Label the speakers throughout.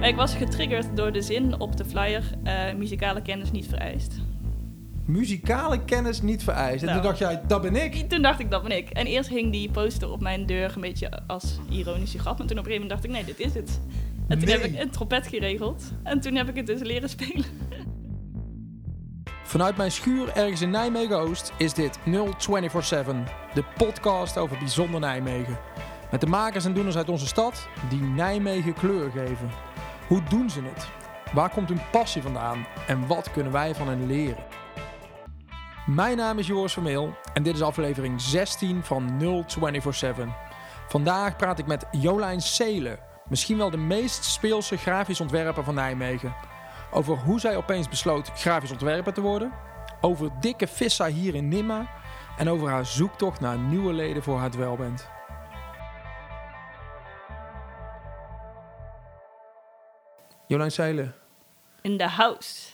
Speaker 1: Ik was getriggerd door de zin op de flyer: eh, muzikale kennis niet vereist.
Speaker 2: Muzikale kennis niet vereist. En
Speaker 1: Nou.
Speaker 2: toen dacht jij, dat ben ik.
Speaker 1: Toen dacht ik dat ben ik. En eerst hing die poster op mijn deur een beetje als ironische grap. En toen op een gegeven moment dacht ik: nee, dit is het. En toen
Speaker 2: Nee.
Speaker 1: heb ik een trompet geregeld. En toen heb ik het dus leren spelen.
Speaker 2: Vanuit mijn schuur ergens in Nijmegen-Oost is dit 0247, de podcast over bijzonder Nijmegen. Met de makers en doeners uit onze stad die Nijmegen kleur geven. Hoe doen ze het? Waar komt hun passie vandaan? En wat kunnen wij van hen leren? Mijn naam is Joris Vermeel en dit is aflevering 16 van 0247. Vandaag praat ik met Jolijn Seelen, misschien wel de meest speelse grafisch ontwerper van Nijmegen. Over hoe zij opeens besloot grafisch ontwerper te worden. Over dikke vissa hier in Nimma. En over haar zoektocht naar nieuwe leden voor haar dwelband. Jolijn Seile,
Speaker 1: In de house.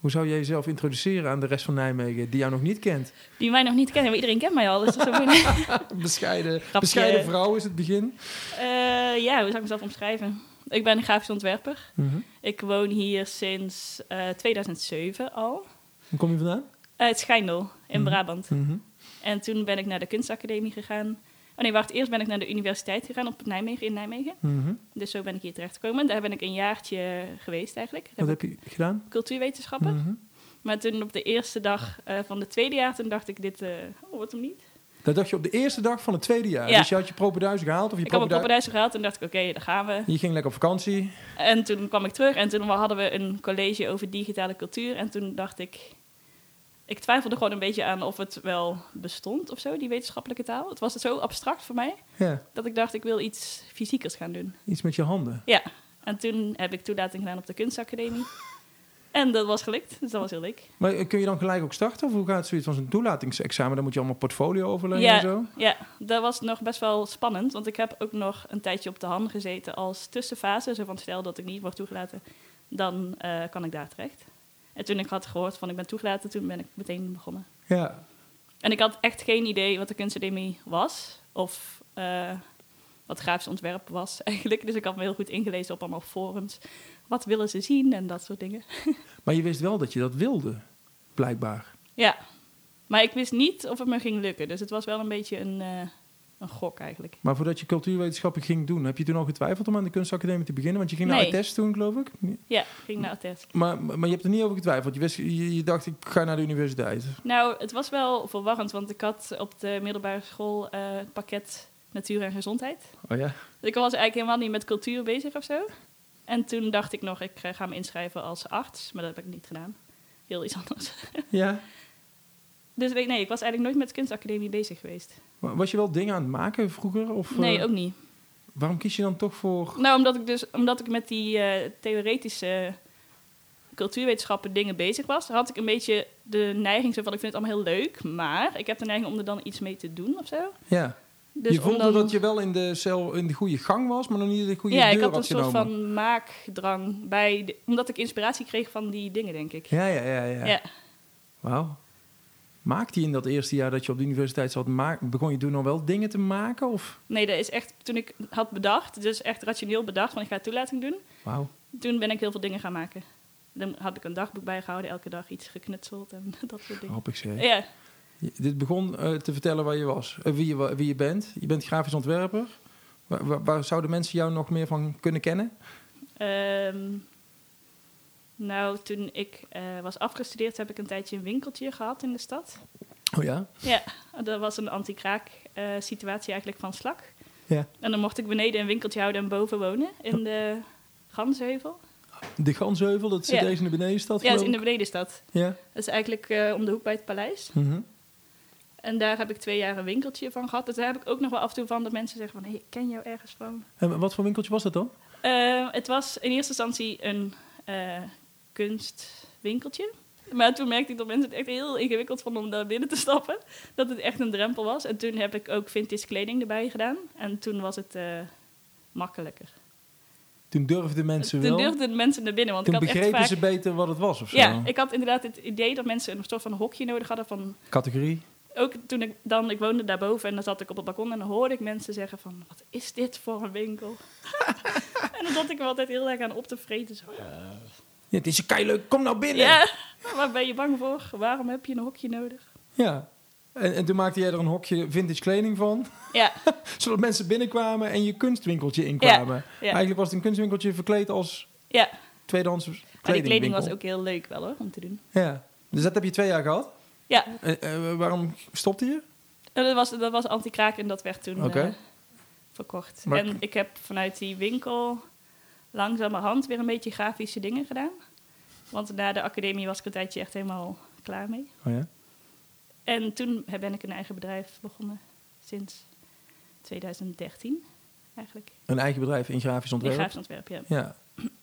Speaker 2: hoe zou jij jezelf introduceren aan de rest van Nijmegen die jou nog niet kent?
Speaker 1: Die mij nog niet kennen, maar iedereen kent mij al. Dus dat is ook niet-
Speaker 2: Bescheiden, bescheiden vrouw is het begin.
Speaker 1: Eh, ja, hoe zou ik mezelf omschrijven? Ik ben een grafisch ontwerper. Ik woon hier sinds eh, 2007 al.
Speaker 2: Hoe kom je vandaan?
Speaker 1: Eh het Schijndel in
Speaker 2: Mhm.
Speaker 1: Brabant. En toen ben ik naar de kunstacademie gegaan. Oh nee, wacht. Eerst ben ik naar de universiteit gegaan op Nijmegen, in Nijmegen. Dus zo ben ik hier terechtgekomen. Daar ben ik een jaartje geweest eigenlijk. Daar
Speaker 2: Wat
Speaker 1: heb
Speaker 2: heb je gedaan?
Speaker 1: ik cultuurwetenschappen.
Speaker 2: Mhm.
Speaker 1: Maar toen op de eerste dag eh, van het tweede jaar, toen dacht ik dit... eh, oh, wat hem niet.
Speaker 2: Dat dacht je op de eerste dag van het tweede jaar.
Speaker 1: Ja.
Speaker 2: Dus je had je propenduis gehaald? Of je
Speaker 1: ik had mijn
Speaker 2: propenduis-
Speaker 1: poppenduizen gehaald en dacht ik, oké, daar gaan we.
Speaker 2: Je ging lekker op vakantie.
Speaker 1: En toen kwam ik terug en toen hadden we een college over digitale cultuur. En toen dacht ik, ik twijfelde gewoon een beetje aan of het wel bestond of zo, die wetenschappelijke taal. Het was zo abstract voor mij
Speaker 2: Ja,
Speaker 1: dat ik dacht, ik wil iets fysiekers gaan doen.
Speaker 2: iets met je handen.
Speaker 1: Ja, en toen heb ik toelating gedaan op de kunstacademie. En dat was gelukt, dus dat was heel leuk.
Speaker 2: Maar eh, kun je dan gelijk ook starten? Of hoe gaat zoiets van zo'n toelatingsexamen? Dan moet je allemaal portfolio overleggen
Speaker 1: Ja.
Speaker 2: en zo.
Speaker 1: Ja, dat was nog best wel spannend, want ik heb ook nog een tijdje op de hand gezeten als tussenfase. Zo van stel dat ik niet word toegelaten, dan eh, kan ik daar terecht. En toen ik had gehoord van ik ben toegelaten, toen ben ik meteen begonnen.
Speaker 2: Ja.
Speaker 1: En ik had echt geen idee wat de kunstacademie was of eh, wat grafisch ontwerp was eigenlijk. Dus ik had me heel goed ingelezen op allemaal forums. Wat willen ze zien en dat soort dingen.
Speaker 2: Maar je wist wel dat je dat wilde, blijkbaar.
Speaker 1: Ja, maar ik wist niet of het me ging lukken. Dus het was wel een beetje een, eh, een gok eigenlijk.
Speaker 2: Maar voordat je cultuurwetenschappen ging doen, heb je toen al getwijfeld om aan de kunstacademie te beginnen? Want je ging naar
Speaker 1: Nee.
Speaker 2: ATES toen, geloof ik.
Speaker 1: Ja, ik ging naar attest.
Speaker 2: Maar, maar je hebt er niet over getwijfeld. Je, wist, je, je dacht, ik ga naar de universiteit.
Speaker 1: Nou, het was wel verwarrend, want ik had op de middelbare school eh, het pakket natuur en gezondheid.
Speaker 2: Oh ja?
Speaker 1: Dus ik was eigenlijk helemaal niet met cultuur bezig of zo. En toen dacht ik nog, ik eh, ga me inschrijven als arts, maar dat heb ik niet gedaan. Heel iets anders.
Speaker 2: Ja.
Speaker 1: Dus weet- nee, ik was eigenlijk nooit met kunstacademie bezig geweest.
Speaker 2: Maar Was je wel dingen aan het maken vroeger? Of, eh,
Speaker 1: Nee, ook niet.
Speaker 2: Waarom kies je dan toch voor...
Speaker 1: Nou, omdat ik dus omdat ik met die eh, theoretische cultuurwetenschappen dingen bezig was, had ik een beetje de neiging zo van ik vind het allemaal heel leuk, maar ik heb de neiging om er dan iets mee te doen of zo.
Speaker 2: Ja.
Speaker 1: Dus
Speaker 2: je
Speaker 1: om
Speaker 2: voelde
Speaker 1: dan-
Speaker 2: dat je wel in de, cel, in de goede gang was, maar nog niet de goede
Speaker 1: ja,
Speaker 2: deur
Speaker 1: ik had een
Speaker 2: had nou,
Speaker 1: soort
Speaker 2: genomen.
Speaker 1: van maakdrang bij, de- omdat ik inspiratie kreeg van die dingen, denk ik.
Speaker 2: Ja, ja, ja. ja.
Speaker 1: Ja.
Speaker 2: Wauw. Maakte je in dat eerste jaar dat je op de universiteit zat, maak- begon je toen al wel dingen te maken? Of?
Speaker 1: Nee, dat is echt toen ik had bedacht, dus echt rationeel bedacht van ik ga toelating doen.
Speaker 2: Wauw.
Speaker 1: Toen ben ik heel veel dingen gaan maken. Dan had ik een dagboek bijgehouden, elke dag iets geknutseld en dat soort dingen.
Speaker 2: Hoop ik zeg.
Speaker 1: Ja,
Speaker 2: Je- Dit begon eh, te vertellen waar je was, eh, wie, je, wa- wie je bent. Je bent grafisch ontwerper. Waar, waar- waar zouden mensen jou nog meer van kunnen kennen?
Speaker 1: ehm, nou, toen ik eh, was afgestudeerd heb ik een tijdje een winkeltje gehad in de stad.
Speaker 2: Oh ja?
Speaker 1: Ja, dat was een anti-kraak eh, situatie eigenlijk van slak.
Speaker 2: Ja.
Speaker 1: En dan mocht ik beneden een winkeltje houden en boven wonen in de Gansheuvel.
Speaker 2: De Gansheuvel, dat zit
Speaker 1: Ja.
Speaker 2: deze in de benedenstad
Speaker 1: Ja, dat is in
Speaker 2: geloof
Speaker 1: de benedenstad.
Speaker 2: ik? Ja.
Speaker 1: Dat is eigenlijk eh, om de hoek bij het paleis.
Speaker 2: Mhm.
Speaker 1: En daar heb ik twee jaar een winkeltje van gehad. Dus daar heb ik ook nog wel af en toe van dat mensen zeggen van... Hey, ik ken jou ergens van.
Speaker 2: En wat voor winkeltje was dat dan?
Speaker 1: Eh, het was in eerste instantie een eh, kunstwinkeltje. Maar toen merkte ik dat mensen het echt heel ingewikkeld vonden om daar binnen te stappen. Dat het echt een drempel was. En toen heb ik ook vintage kleding erbij gedaan. En toen was het eh, makkelijker.
Speaker 2: Toen durfden mensen
Speaker 1: toen
Speaker 2: wel.
Speaker 1: durfden de mensen naar binnen. Want
Speaker 2: toen
Speaker 1: ik had echt
Speaker 2: begrepen
Speaker 1: vaak...
Speaker 2: ze beter wat het was of zo.
Speaker 1: Ja, ik had inderdaad het idee dat mensen een soort van hokje nodig hadden van...
Speaker 2: Categorie.
Speaker 1: Ook toen ik dan, ik woonde daarboven en dan zat ik op het balkon en dan hoorde ik mensen zeggen van... Wat is dit voor een winkel? En dan zat ik er altijd heel erg aan op te vreten. Zo, ja.
Speaker 2: Ja, dit is leuk, kom nou binnen.
Speaker 1: ja, waar ben je bang voor? Waarom heb je een hokje nodig?
Speaker 2: Ja. En, en toen maakte jij er een hokje vintage kleding van.
Speaker 1: Ja,
Speaker 2: Zodat mensen binnenkwamen en je kunstwinkeltje inkwamen. Eigenlijk was het een kunstwinkeltje verkleed als
Speaker 1: ja.
Speaker 2: tweedehands kledingwinkel.
Speaker 1: Maar Ah, die kleding was ook heel leuk wel hoor, om te doen.
Speaker 2: Ja. Dus dat heb je twee jaar gehad.
Speaker 1: Ja,
Speaker 2: Eh, eh, waarom stopte je?
Speaker 1: en dat was, dat was anti-kraak en dat werd toen
Speaker 2: Oké.
Speaker 1: eh, verkocht.
Speaker 2: Maar-
Speaker 1: En ik heb vanuit die winkel langzamerhand weer een beetje grafische dingen gedaan. Want na de academie was ik een tijdje echt helemaal klaar mee.
Speaker 2: Oh ja.
Speaker 1: En toen heb- ben ik een eigen bedrijf begonnen. Sinds 2013 eigenlijk.
Speaker 2: Een eigen bedrijf in grafisch
Speaker 1: In
Speaker 2: ontwerp.
Speaker 1: grafisch ontwerp, ja.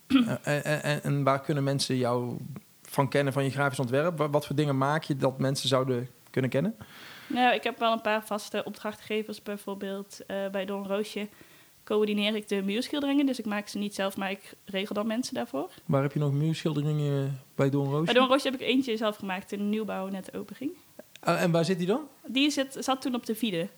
Speaker 2: Ja. en, en- en, en waar kunnen mensen jou van kennen van je grafisch ontwerp? Wa- Wat voor dingen maak je dat mensen zouden kunnen kennen?
Speaker 1: Nou, ik heb wel een paar vaste opdrachtgevers. Bijvoorbeeld eh, bij Don Roosje coördineer ik de muurschilderingen. Dus ik maak ze niet zelf, maar ik regel dan mensen daarvoor.
Speaker 2: Waar heb je nog muurschilderingen bij Don Roosje?
Speaker 1: Bij Don Roosje heb ik eentje zelf gemaakt toen de nieuwbouw net open ging.
Speaker 2: Eh, en waar zit die dan?
Speaker 1: Die zit, zat toen op de Vide.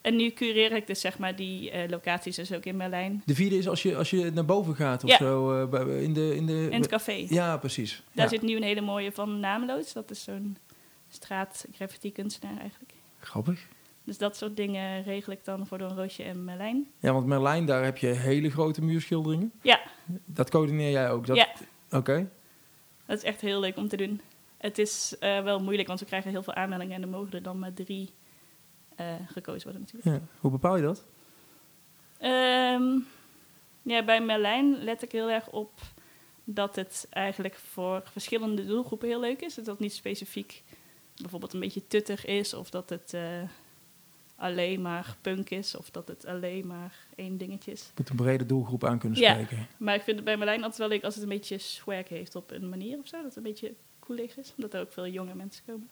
Speaker 1: En nu cureer ik dus zeg maar die eh, locaties dus ook in Berlijn.
Speaker 2: De vierde is als je, als je naar boven gaat of
Speaker 1: Ja.
Speaker 2: zo. eh, bij- in de, in de,
Speaker 1: In het café.
Speaker 2: ja, precies.
Speaker 1: Daar
Speaker 2: Ja.
Speaker 1: zit nu een hele mooie van Nameloos. Dat is zo'n straat graffiti kunstenaar eigenlijk.
Speaker 2: Grappig.
Speaker 1: Dus dat soort dingen regel ik dan voor Don Roosje en Merlijn.
Speaker 2: Ja, want Merlijn, daar heb je hele grote muurschilderingen.
Speaker 1: Ja.
Speaker 2: Dat coördineer jij ook? Dat,
Speaker 1: Ja.
Speaker 2: Oké.
Speaker 1: Dat is echt heel leuk om te doen. Het is eh, wel moeilijk, want we krijgen heel veel aanmeldingen en er mogen er dan maar drie eh, gekozen worden natuurlijk.
Speaker 2: Ja. Hoe bepaal je dat?
Speaker 1: Ehm, ja, bij Merlijn let ik heel erg op dat het eigenlijk voor verschillende doelgroepen heel leuk is. Dat het niet specifiek bijvoorbeeld een beetje tuttig is of dat het eh, alleen maar punk is of dat het alleen maar één dingetje is.
Speaker 2: Je moet een brede doelgroep aan kunnen
Speaker 1: Ja.
Speaker 2: spreken.
Speaker 1: Maar ik vind het bij Merlijn altijd wel leuk als het een beetje swag heeft op een manier of zo. Dat het een beetje koelig is, omdat er ook veel jonge mensen komen.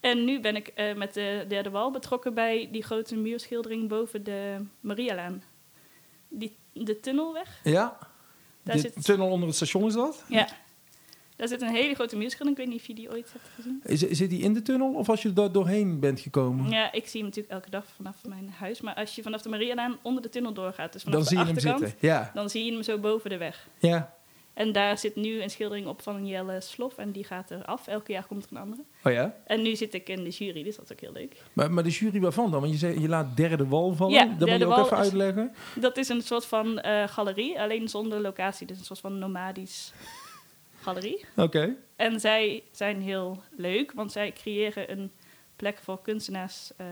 Speaker 1: en nu ben ik eh, met de derde wal betrokken bij die grote muurschildering boven de Marialaan. Die, de tunnelweg,
Speaker 2: Ja?
Speaker 1: Daar
Speaker 2: De
Speaker 1: zit-
Speaker 2: tunnel onder het station is dat?
Speaker 1: ja. Daar zit een hele grote muurschildering, ik weet niet of je die ooit hebt gezien.
Speaker 2: Is, zit die in de tunnel of als je daar doorheen bent gekomen?
Speaker 1: Ja, ik zie hem natuurlijk elke dag vanaf mijn huis. Maar als je vanaf de Marialaan onder de tunnel doorgaat, dus vanaf
Speaker 2: Dan
Speaker 1: de
Speaker 2: zie je hem
Speaker 1: achterkant,
Speaker 2: zitten. Ja.
Speaker 1: dan zie je hem zo boven de weg.
Speaker 2: ja.
Speaker 1: En daar zit nu een schildering op van Jelle Slof. En die gaat er af. Elke jaar komt er een andere.
Speaker 2: Oh ja.
Speaker 1: En nu zit ik in de jury, dus dat is ook heel leuk.
Speaker 2: Maar, maar de jury waarvan dan? Want je, zei, je laat derde wal vallen.
Speaker 1: Ja,
Speaker 2: dat moet
Speaker 1: derde
Speaker 2: je ook
Speaker 1: wal
Speaker 2: even
Speaker 1: is-
Speaker 2: uitleggen.
Speaker 1: Dat is een soort van eh, galerie, alleen zonder locatie. Dus een soort van nomadisch galerie.
Speaker 2: Oké.
Speaker 1: En zij zijn heel leuk, want zij creëren een plek voor kunstenaars... eh,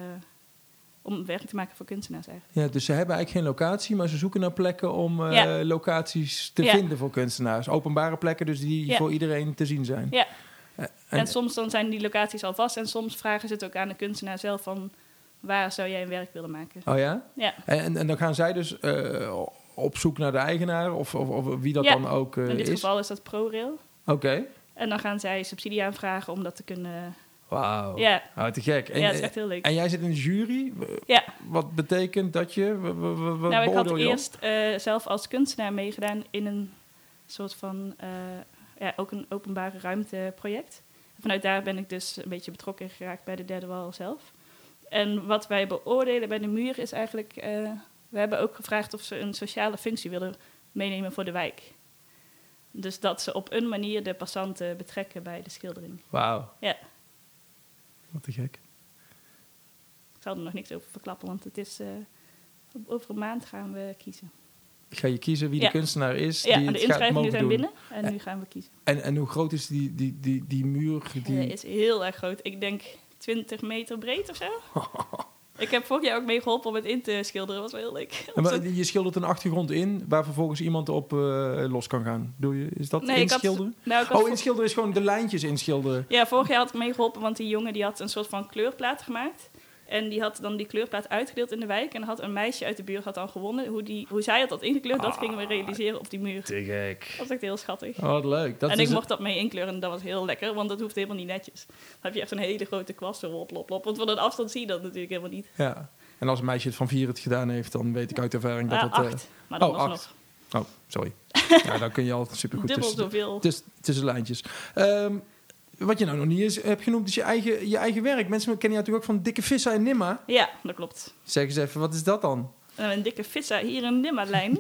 Speaker 1: om werk te maken voor kunstenaars eigenlijk.
Speaker 2: Ja, dus ze hebben eigenlijk geen locatie, maar ze zoeken naar plekken om eh,
Speaker 1: Ja.
Speaker 2: locaties te
Speaker 1: Ja.
Speaker 2: vinden voor kunstenaars. Openbare plekken dus die
Speaker 1: Ja.
Speaker 2: voor iedereen te zien zijn.
Speaker 1: Ja.
Speaker 2: Eh,
Speaker 1: En,
Speaker 2: en,
Speaker 1: soms dan zijn die locaties al vast. En soms vragen ze het ook aan de kunstenaar zelf van... waar zou jij een werk willen maken?
Speaker 2: oh ja?
Speaker 1: Ja.
Speaker 2: En, en dan gaan zij dus eh, op zoek naar de eigenaar of, of, of wie dat
Speaker 1: Ja.
Speaker 2: dan ook eh,
Speaker 1: In dit
Speaker 2: is.
Speaker 1: geval is dat ProRail.
Speaker 2: Oké.
Speaker 1: En dan gaan zij subsidie aanvragen om dat te kunnen...
Speaker 2: Wauw.
Speaker 1: Ja,
Speaker 2: Oh, te gek. En,
Speaker 1: ja, dat is echt heel leuk.
Speaker 2: en jij zit in de jury.
Speaker 1: Ja.
Speaker 2: Wat betekent dat je? Wat, wat, wat
Speaker 1: nou, ik had
Speaker 2: beoordeel je op?
Speaker 1: eerst eh, zelf als kunstenaar meegedaan in een soort van, eh, ja, ook een openbare ruimteproject. Vanuit daar ben ik dus een beetje betrokken geraakt bij de derde wal zelf. En wat wij beoordelen bij de muur is eigenlijk, eh, we hebben ook gevraagd of ze een sociale functie willen meenemen voor de wijk. Dus dat ze op een manier de passanten betrekken bij de schildering.
Speaker 2: Wauw.
Speaker 1: Ja.
Speaker 2: Wat te gek.
Speaker 1: Ik zal er nog niks over verklappen, want het is, eh, over een maand gaan we kiezen.
Speaker 2: Ga je kiezen wie
Speaker 1: Ja.
Speaker 2: de kunstenaar is
Speaker 1: Ja,
Speaker 2: Dus die
Speaker 1: en de
Speaker 2: het gaat
Speaker 1: inschrijvingen
Speaker 2: mogen
Speaker 1: zijn
Speaker 2: doen?
Speaker 1: binnen en nu gaan we kiezen.
Speaker 2: En, en hoe groot is die, die, die, die muur? Die...
Speaker 1: Die is heel erg groot. Ik denk 20 meter breed of zo. ik heb vorig jaar ook mee geholpen om het in te schilderen. was wel heel leuk.
Speaker 2: En maar je schildert een achtergrond in waar vervolgens iemand op eh, los kan gaan. Doe je? Is dat
Speaker 1: Nee, ik had-
Speaker 2: inschilderen?
Speaker 1: Nou, ik had
Speaker 2: Oh,
Speaker 1: vo-
Speaker 2: inschilderen is gewoon de lijntjes inschilderen.
Speaker 1: Ja, vorig jaar had ik mee geholpen, want die jongen die had een soort van kleurplaat gemaakt. En die had dan die kleurplaat uitgedeeld in de wijk. En had een meisje uit de buurt had dan gewonnen. Hoe, die, hoe zij had dat ingekleurd, dat gingen we realiseren op die muur.
Speaker 2: Ah, Te gek.
Speaker 1: Dat was echt heel schattig.
Speaker 2: Oh, wat leuk. Dat
Speaker 1: en
Speaker 2: is
Speaker 1: ik
Speaker 2: het-
Speaker 1: mocht dat mee inkleuren en dat was heel lekker, want dat hoeft helemaal niet netjes. Dan heb je echt een hele grote kwast zo op, op, op. Want van een afstand zie je dat natuurlijk helemaal niet.
Speaker 2: Ja. En als een meisje het van vier het gedaan heeft, dan weet ik uit ervaring dat
Speaker 1: Ah,
Speaker 2: het... eh,
Speaker 1: acht. Maar dan
Speaker 2: oh,
Speaker 1: was
Speaker 2: acht. dus
Speaker 1: nog
Speaker 2: Oh, sorry. ja, dan kun je al supergoed
Speaker 1: dubbel
Speaker 2: tussen,
Speaker 1: zoveel.
Speaker 2: tussen, tussen lijntjes. Ehm, wat je nou nog niet eens hebt genoemd, is je eigen, je eigen werk. Mensen kennen je natuurlijk ook van Dikke Vissen en Nimma.
Speaker 1: Ja, dat klopt.
Speaker 2: Zeg eens even, wat is dat dan?
Speaker 1: Nou, een dikke pizza hier in Nimmerlijn.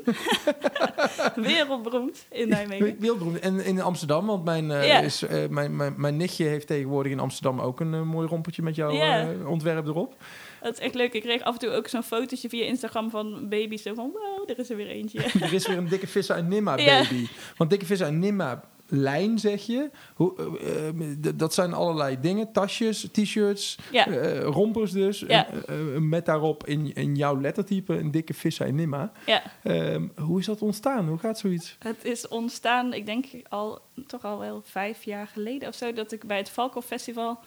Speaker 1: Wereldberoemd in Nijmegen.
Speaker 2: Wereldberoemd. En in Amsterdam, want mijn, eh,
Speaker 1: Ja.
Speaker 2: is, eh, mijn, mijn, mijn nichtje heeft tegenwoordig in Amsterdam ook een eh, mooi rompeltje met jouw
Speaker 1: Ja.
Speaker 2: eh, ontwerp erop.
Speaker 1: Dat is echt leuk. Ik kreeg af en toe ook zo'n fotootje via Instagram van baby's. Zo van, wow, er is er weer eentje.
Speaker 2: er is weer een dikke vis uit Nimma,
Speaker 1: Ja.
Speaker 2: baby. Want dikke vis uit Nimma lijn, zeg je. Hoe, eh, eh, d- dat zijn allerlei dingen. Tasjes, t-shirts,
Speaker 1: Ja.
Speaker 2: eh, rompers dus.
Speaker 1: Ja.
Speaker 2: Eh, eh, met daarop in, in jouw lettertype een dikke vis uit Nimma.
Speaker 1: ja,
Speaker 2: Ehm, hoe is dat ontstaan? Hoe gaat zoiets?
Speaker 1: het is ontstaan, ik denk al, toch al wel vijf jaar geleden of zo, dat ik bij het Valkhof Festival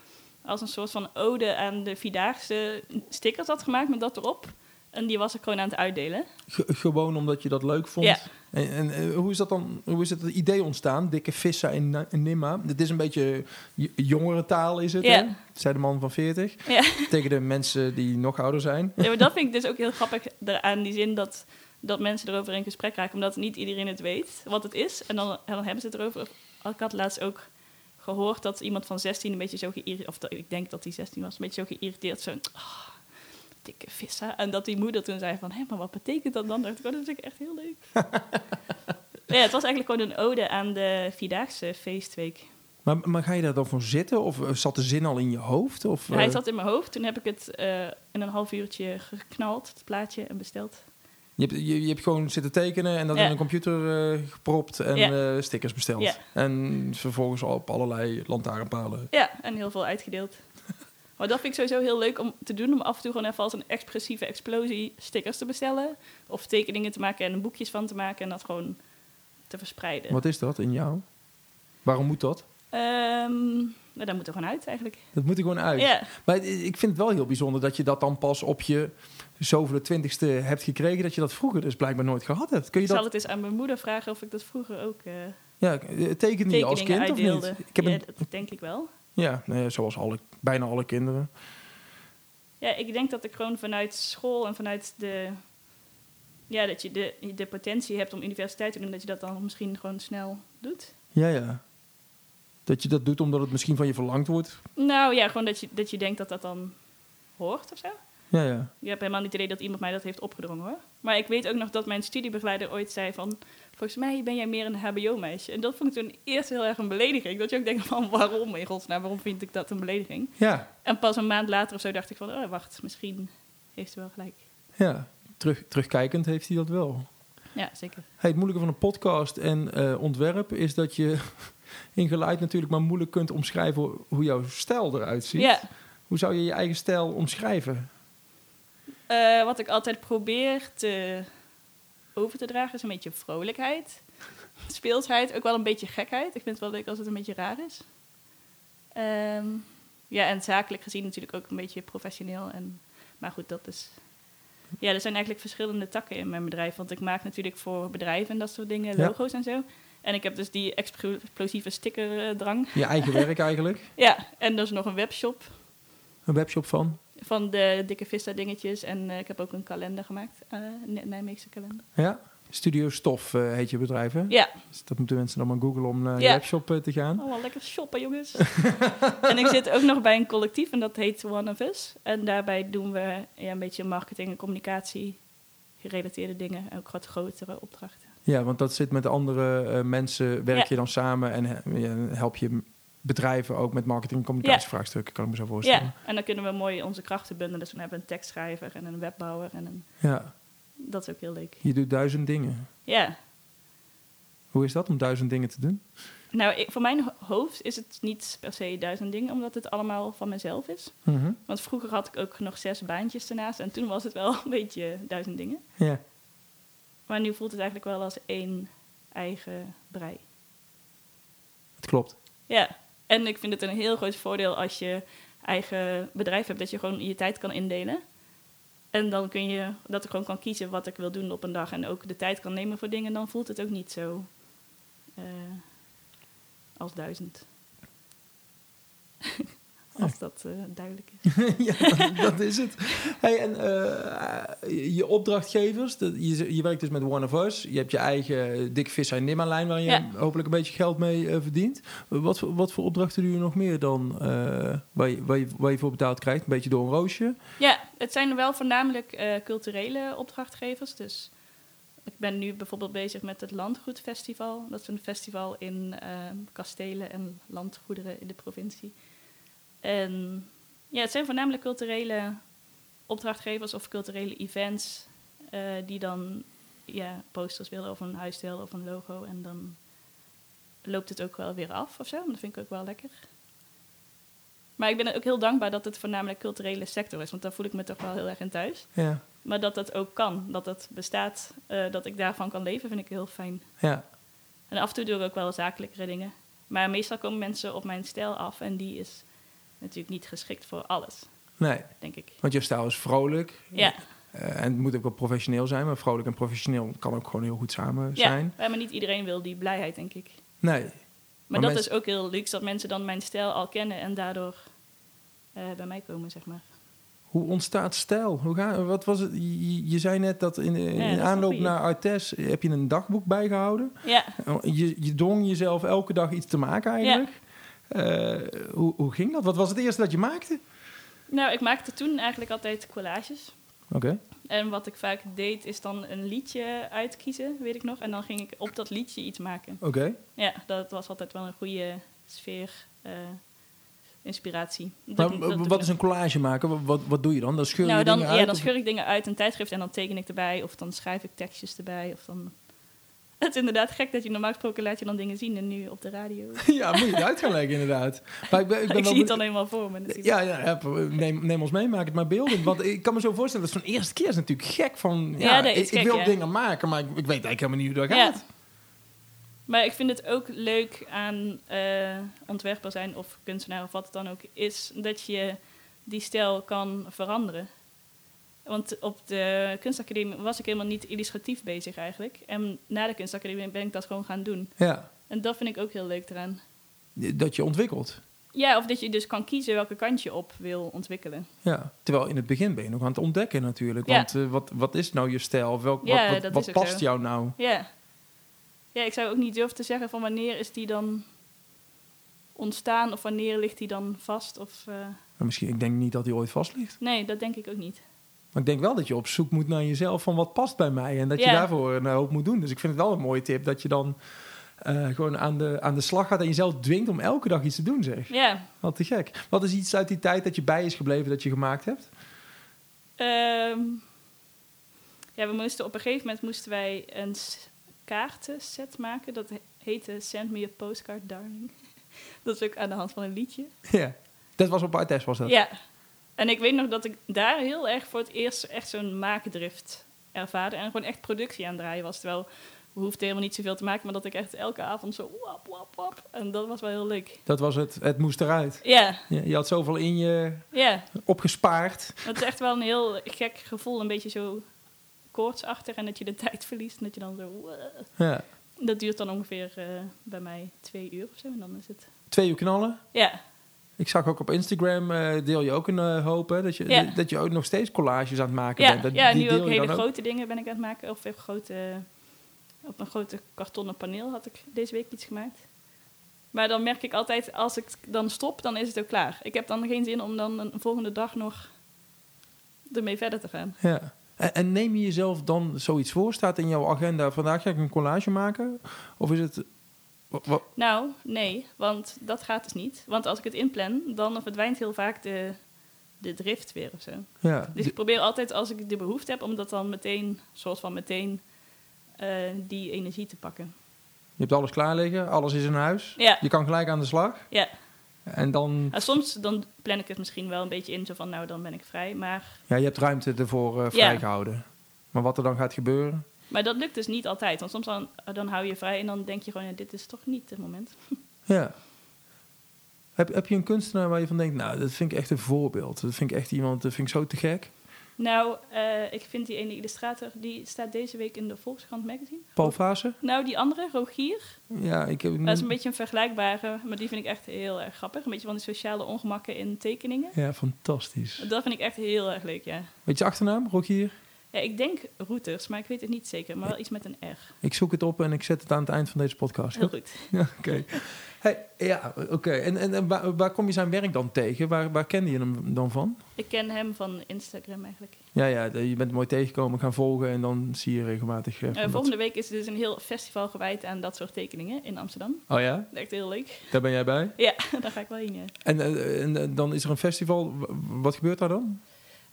Speaker 1: als een soort van ode aan de Vierdaagse stickers had gemaakt met dat erop. En die was ik gewoon aan het uitdelen.
Speaker 2: Ge- gewoon omdat je dat leuk vond.
Speaker 1: Ja.
Speaker 2: En, en eh, hoe is dat dan? Hoe is het idee ontstaan? Dikke vissen in, Na- in Nimma. Het is een beetje j- jongere taal, is het?
Speaker 1: Ja.
Speaker 2: hè? Zei de man van 40.
Speaker 1: Ja.
Speaker 2: Tegen de mensen die nog ouder zijn.
Speaker 1: Ja, maar dat vind ik dus ook heel grappig aan die zin dat, dat mensen erover in gesprek raken. Omdat niet iedereen het weet wat het is. En dan, en dan hebben ze het erover. Ik had laatst ook gehoord dat iemand van 16 een beetje zo geïrriteerd... Of dat- ik denk dat hij 16 was, een beetje zo geïrriteerd. Zo'n "Ah, dikke vissen. En dat die moeder toen zei van... Hé, maar wat betekent dat dan? Dacht ik, oh, dat vind ik echt heel leuk. ja, het was eigenlijk gewoon een ode aan de Vierdaagse feestweek.
Speaker 2: Maar, maar ga je daar dan voor zitten? Of eh, zat de zin al in je hoofd? Of,
Speaker 1: Hij
Speaker 2: eh,
Speaker 1: zat in mijn hoofd. Toen heb ik het eh, in een half uurtje geknald, het plaatje, en besteld.
Speaker 2: je, hebt, je, je hebt gewoon zitten tekenen en dat
Speaker 1: Ja.
Speaker 2: in een computer eh, gepropt en
Speaker 1: Ja.
Speaker 2: eh, stickers besteld.
Speaker 1: Ja.
Speaker 2: En vervolgens op allerlei lantaarnpalen.
Speaker 1: Ja, en heel veel uitgedeeld. Maar dat vind ik sowieso heel leuk om te doen. Om af en toe gewoon even als een expressieve explosie stickers te bestellen. Of tekeningen te maken en er boekjes van te maken. En dat gewoon te verspreiden.
Speaker 2: Wat is dat in jou? Waarom moet dat?
Speaker 1: Ehm nou, dat moet er gewoon uit eigenlijk.
Speaker 2: Dat moet er gewoon uit.
Speaker 1: Ja,
Speaker 2: Maar het- ik vind het wel heel bijzonder dat je dat dan pas op je zoveel twintigste hebt gekregen. Dat je dat vroeger dus blijkbaar nooit gehad hebt. Kun je
Speaker 1: ik zal
Speaker 2: dat
Speaker 1: het eens aan mijn moeder vragen of ik dat vroeger ook eh
Speaker 2: ja, eh, tekenen je
Speaker 1: tekeningen
Speaker 2: als kind
Speaker 1: uitdeelde.
Speaker 2: of niet? Ik heb
Speaker 1: ja,
Speaker 2: een,
Speaker 1: dat denk ik wel.
Speaker 2: ja, nou ja, zoals alle, bijna alle kinderen.
Speaker 1: Ja, ik denk dat ik gewoon vanuit school en vanuit de... Ja, dat je de, de potentie hebt om universiteit te doen. Dat je dat dan misschien gewoon snel doet.
Speaker 2: Ja, ja. Dat je dat doet omdat het misschien van je verlangd wordt.
Speaker 1: Nou ja, gewoon dat je, dat je denkt dat dat dan hoort of zo.
Speaker 2: Ja, ja.
Speaker 1: Ik heb helemaal niet het idee dat iemand mij dat heeft opgedrongen hoor. Maar ik weet ook nog dat mijn studiebegeleider ooit zei van... Volgens mij ben jij meer een hbo-meisje. En dat vond ik toen eerst heel erg een belediging. Dat je ook denkt van waarom in godsnaam, waarom vind ik dat een belediging?
Speaker 2: Ja,
Speaker 1: En pas een maand later of zo dacht ik van... Oh wacht, misschien heeft ze wel gelijk.
Speaker 2: ja. Terug, terugkijkend heeft hij dat wel.
Speaker 1: Ja, zeker.
Speaker 2: Hey, het moeilijke van een podcast en eh, ontwerp is dat je in geluid natuurlijk maar moeilijk kunt omschrijven hoe jouw stijl eruit ziet.
Speaker 1: Ja,
Speaker 2: Hoe zou je je eigen stijl omschrijven?
Speaker 1: Eh, wat ik altijd probeer te over te dragen is een beetje vrolijkheid, speelsheid, ook wel een beetje gekheid. Ik vind het wel leuk als het een beetje raar is. Ehm, ja, en zakelijk gezien natuurlijk ook een beetje professioneel. En, maar goed, dat is. Ja, er zijn eigenlijk verschillende takken in mijn bedrijf. Want ik maak natuurlijk voor bedrijven en dat soort dingen,
Speaker 2: Ja.
Speaker 1: logo's en zo. En ik heb dus die explo- explosieve stickerdrang.
Speaker 2: Je eigen werk eigenlijk?
Speaker 1: Ja, en dus nog een webshop
Speaker 2: Een webshop van?
Speaker 1: van de dikke vista dingetjes. En eh, ik heb ook een kalender gemaakt, eh, een Nijmeegse kalender.
Speaker 2: Ja. Studio Stof eh, heet je bedrijf, hè?
Speaker 1: Ja,
Speaker 2: Dus dat moeten mensen dan maar googlen om naar
Speaker 1: Ja.
Speaker 2: je webshop eh, te gaan.
Speaker 1: allemaal lekker shoppen, jongens. en ik zit ook nog bij een collectief en dat heet One of Us. En daarbij doen we ja, een beetje marketing en communicatie gerelateerde dingen. En ook wat grotere opdrachten.
Speaker 2: Ja, want dat zit met andere eh, mensen, werk
Speaker 1: Ja.
Speaker 2: je dan samen en he- ja, help je bedrijven ook met marketing en communicatievraagstukken, kan ik me zo voorstellen.
Speaker 1: Ja, en dan kunnen we mooi onze krachten bundelen. Dus we hebben een tekstschrijver en een webbouwer. En een...
Speaker 2: Ja.
Speaker 1: Dat is ook heel leuk.
Speaker 2: je doet duizend dingen.
Speaker 1: Ja,
Speaker 2: Hoe is dat om duizend dingen te doen?
Speaker 1: nou ik, voor mijn ho- hoofd is het niet per se duizend dingen, omdat het allemaal van mezelf is.
Speaker 2: Mhm.
Speaker 1: Want vroeger had ik ook nog zes baantjes ernaast. En toen was het wel een beetje duizend dingen.
Speaker 2: Ja.
Speaker 1: Maar nu voelt het eigenlijk wel als één eigen brei.
Speaker 2: Het klopt.
Speaker 1: Ja, en ik vind het een heel groot voordeel als je eigen bedrijf hebt. Dat je gewoon je tijd kan indelen. En dan kun je, dat ik gewoon kan kiezen wat ik wil doen op een dag. En ook de tijd kan nemen voor dingen. Dan voelt het ook niet zo eh, als duizend. Als dat eh, duidelijk is.
Speaker 2: ja, dat, dat is het. Hey, en eh, je opdrachtgevers, dat- je, je werkt dus met One of Us. Je hebt je eigen Dick Vis en Nimma lijn waar je
Speaker 1: Ja.
Speaker 2: hopelijk een beetje geld mee eh, verdient. Wat, voor- wat voor opdrachten doe je nog meer dan eh, waar, je, waar, je, waar je voor betaald krijgt? Een beetje door een roosje.
Speaker 1: Ja, het zijn wel voornamelijk eh, culturele opdrachtgevers. Dus ik ben nu bijvoorbeeld bezig met het Landgoedfestival. Dat is een festival in ehm, kastelen en landgoederen in de provincie. En ja, het zijn voornamelijk culturele opdrachtgevers of culturele events eh, die dan ja, posters willen of een huisstijl of een logo. En dan loopt het ook wel weer af of zo. Dat vind ik ook wel lekker. Maar ik ben ook heel dankbaar dat het voornamelijk culturele sector is, want daar voel ik me toch wel heel erg in thuis.
Speaker 2: Ja,
Speaker 1: Maar dat dat ook kan, dat dat bestaat, eh, dat ik daarvan kan leven, vind ik heel fijn.
Speaker 2: ja.
Speaker 1: En af en toe doe ik ook wel zakelijkere dingen. Maar meestal komen mensen op mijn stijl af en die is natuurlijk niet geschikt voor alles,
Speaker 2: Nee,
Speaker 1: denk ik.
Speaker 2: want je stijl is vrolijk.
Speaker 1: Ja,
Speaker 2: Eh, en het moet ook wel professioneel zijn, maar vrolijk en professioneel kan ook gewoon heel goed samen
Speaker 1: ja.
Speaker 2: zijn.
Speaker 1: ja, maar niet iedereen wil die blijheid, denk ik.
Speaker 2: Nee,
Speaker 1: Maar,
Speaker 2: Maar
Speaker 1: dat
Speaker 2: mensen-
Speaker 1: is ook heel luxe, dat mensen dan mijn stijl al kennen en daardoor eh, bij mij komen, zeg maar.
Speaker 2: Hoe ontstaat stijl? Hoe ga, wat was het? Je, je zei net dat in, in
Speaker 1: dat is een
Speaker 2: aanloop
Speaker 1: goeie.
Speaker 2: naar Artes heb je een dagboek bijgehouden. Oh,
Speaker 1: Ja,
Speaker 2: Je, je dwong jezelf elke dag iets te maken eigenlijk. Eh, hoe, hoe ging dat? Wat was het eerste dat je maakte?
Speaker 1: nou, ik maakte toen eigenlijk altijd collages.
Speaker 2: Oké.
Speaker 1: En wat ik vaak deed, is dan een liedje uitkiezen, weet ik nog. En dan ging ik op dat liedje iets maken.
Speaker 2: Oké.
Speaker 1: Ja, dat was altijd wel een goede sfeer, eh, inspiratie. Dat-
Speaker 2: Maar
Speaker 1: dat
Speaker 2: w-
Speaker 1: doe ik
Speaker 2: wat is
Speaker 1: nog.
Speaker 2: een collage maken? Wat- Wat, wat doe je dan? Dan scheur je
Speaker 1: nou, dan,
Speaker 2: dingen uit?
Speaker 1: ja, dan
Speaker 2: of-
Speaker 1: scheur ik dingen uit in tijdschrift en dan teken ik erbij. Of dan schrijf ik tekstjes erbij. Of dan... Het is inderdaad gek dat je normaal gesproken laat je dan dingen zien en nu op de radio.
Speaker 2: ja, moet je het uit gaan leggen inderdaad. Maar ik, ben, ik, ben
Speaker 1: Ik
Speaker 2: wel
Speaker 1: zie het
Speaker 2: benieu-
Speaker 1: dan helemaal voor me natuurlijk.
Speaker 2: Ja, ja, ja, neem, neem ons mee, maak het maar beelden. Want ik kan me zo voorstellen, dat is van de eerste keer is natuurlijk gek. Van, ja,
Speaker 1: Ja, dat is
Speaker 2: ik, ik
Speaker 1: gek,
Speaker 2: wil
Speaker 1: ja.
Speaker 2: dingen maken, maar ik, ik weet eigenlijk helemaal niet hoe dat
Speaker 1: Ja.
Speaker 2: gaat.
Speaker 1: Maar ik vind het ook leuk aan eh, ontwerper zijn of kunstenaar of wat het dan ook is, dat je die stijl kan veranderen. Want op de kunstacademie was ik helemaal niet illustratief bezig eigenlijk. En na de kunstacademie ben ik dat gewoon gaan doen.
Speaker 2: ja.
Speaker 1: En dat vind ik ook heel leuk eraan.
Speaker 2: dat je ontwikkelt.
Speaker 1: Ja, of dat je dus kan kiezen welke kant je op wil ontwikkelen.
Speaker 2: Ja. Terwijl in het begin ben je nog aan het ontdekken natuurlijk.
Speaker 1: Ja.
Speaker 2: Want eh, wat, wat is nou je stijl? Of Welk,
Speaker 1: Ja,
Speaker 2: wat wat,
Speaker 1: dat
Speaker 2: wat
Speaker 1: is ook
Speaker 2: past
Speaker 1: zo.
Speaker 2: jou nou?
Speaker 1: Ja. Ja, ik zou ook niet durven te zeggen van wanneer is die dan ontstaan of wanneer ligt die dan vast. Of, eh,
Speaker 2: Maar Nou, misschien, ik denk niet dat die ooit vast ligt.
Speaker 1: Nee, dat denk ik ook niet.
Speaker 2: Maar ik denk wel dat je op zoek moet naar jezelf van wat past bij mij. En dat je
Speaker 1: Ja.
Speaker 2: daarvoor een hoop moet doen. Dus ik vind het wel een mooie tip dat je dan eh, gewoon aan de, aan de slag gaat en jezelf dwingt om elke dag iets te doen, zeg.
Speaker 1: Ja,
Speaker 2: Wat te gek. Wat is iets uit die tijd dat je bij is gebleven dat je gemaakt hebt?
Speaker 1: Ehm, ja, we moesten op een gegeven moment moesten wij een s- kaartenset maken. Dat he- heette Send Me a Postcard, Darling. dat is ook aan de hand van een liedje.
Speaker 2: Ja. Dat was op Artes, was dat?
Speaker 1: Ja. En ik weet nog dat ik daar heel erg voor het eerst echt zo'n maakdrift ervaarde. En gewoon echt productie aan het draaien was. Terwijl we hoefden helemaal niet zoveel te maken. Maar dat ik echt elke avond zo wap, wap, wap. En dat was wel heel leuk.
Speaker 2: Dat was het, het moest eruit.
Speaker 1: Ja,
Speaker 2: Je, je had zoveel in je
Speaker 1: ja.
Speaker 2: opgespaard.
Speaker 1: Dat is echt wel een heel gek gevoel. Een beetje zo koortsachtig en dat je de tijd verliest. En dat je dan zo... "Wah."
Speaker 2: Ja.
Speaker 1: Dat duurt dan ongeveer eh, bij mij twee uur of zo. En dan is het...
Speaker 2: Twee uur knallen.
Speaker 1: Ja,
Speaker 2: Ik zag ook op Instagram, eh, deel je ook een eh, hoop, hè? Dat, je,
Speaker 1: Ja.
Speaker 2: dat je ook nog steeds collages aan het maken
Speaker 1: ja,
Speaker 2: bent. Dat,
Speaker 1: ja
Speaker 2: die
Speaker 1: nu
Speaker 2: deel
Speaker 1: ook
Speaker 2: je
Speaker 1: hele
Speaker 2: dan ook.
Speaker 1: grote dingen ben ik aan het maken. Of een grote, op een grote kartonnen paneel had ik deze week iets gemaakt. Maar dan merk ik altijd, als ik dan stop, dan is het ook klaar. Ik heb dan geen zin om dan een volgende dag nog ermee verder te gaan.
Speaker 2: Ja. En, en neem je jezelf dan zoiets voor? Staat in jouw agenda, vandaag ga ik een collage maken? Of is het... wa- wa-
Speaker 1: Nou, nee, want dat gaat dus niet. Want als ik het inplan, dan verdwijnt heel vaak de, de drift weer of zo.
Speaker 2: ja.
Speaker 1: Dus ik probeer altijd, als ik de behoefte heb, om dat dan meteen, soort van meteen, eh, die energie te pakken.
Speaker 2: Je hebt alles klaar liggen, alles is in huis.
Speaker 1: Ja,
Speaker 2: Je kan gelijk aan de slag.
Speaker 1: ja.
Speaker 2: En dan...
Speaker 1: Nou, soms dan plan ik het misschien wel een beetje in, zo van, nou, dan ben ik vrij. Maar,
Speaker 2: Ja, je hebt ruimte ervoor eh, vrijgehouden. Maar wat er dan gaat gebeuren...
Speaker 1: maar dat lukt dus niet altijd. Want soms dan, dan hou je vrij en dan denk je gewoon, ja, dit is toch niet het moment.
Speaker 2: Ja. Heb, heb je een kunstenaar waar je van denkt, nou, dat vind ik echt een voorbeeld. Dat vind ik echt iemand, dat vind ik zo te gek.
Speaker 1: Nou, eh, ik vind die ene illustrator, die staat deze week in de Volkskrant magazine.
Speaker 2: Paul Fase?
Speaker 1: Nou, die andere, Rogier,
Speaker 2: Ja, ik heb...
Speaker 1: dat is een beetje een vergelijkbare, maar die vind ik echt heel erg grappig. Een beetje van die sociale ongemakken in tekeningen.
Speaker 2: Ja, fantastisch.
Speaker 1: Dat vind ik echt heel erg leuk, ja.
Speaker 2: Weet je achternaam, Rogier?
Speaker 1: ja ik denk routers, maar ik weet het niet zeker, maar wel iets met een R.
Speaker 2: Ik zoek het op en ik zet het aan het eind van deze podcast.
Speaker 1: Heel goed.
Speaker 2: Ja, oké. Hey, ja, oké. En, en, en waar, waar kom je zijn werk dan tegen? Waar, waar kende je hem dan van?
Speaker 1: Ik ken hem van Instagram eigenlijk.
Speaker 2: Ja, ja, je bent mooi tegengekomen, gaan volgen en dan zie je regelmatig... eh,
Speaker 1: Eh,
Speaker 2: van dat-
Speaker 1: volgende week is er dus een heel festival gewijd aan dat soort tekeningen in Amsterdam.
Speaker 2: Oh ja?
Speaker 1: Echt heel leuk.
Speaker 2: Daar ben jij bij?
Speaker 1: Ja, daar ga ik wel heen. ja.
Speaker 2: En, eh, en eh, dan is er een festival. W- Wat gebeurt daar dan?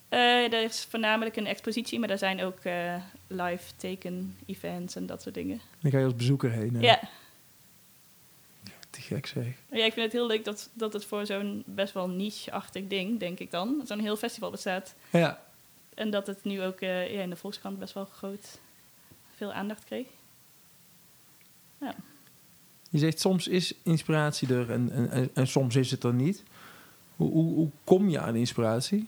Speaker 1: Eh, er is voornamelijk een expositie, maar er zijn ook eh, live teken-events en dat soort dingen.
Speaker 2: Dan ga je als bezoeker heen. eh.
Speaker 1: Ja.
Speaker 2: Te gek zeg.
Speaker 1: ja, ik vind het heel leuk dat, dat het voor zo'n best wel niche-achtig ding, denk ik dan, zo'n heel festival bestaat.
Speaker 2: Ja,
Speaker 1: En dat het nu ook eh, ja, in de Volkskrant best wel groot veel aandacht kreeg.
Speaker 2: je zegt soms is inspiratie er en, en, en, en soms is het er niet. Hoe, hoe, hoe kom je aan inspiratie?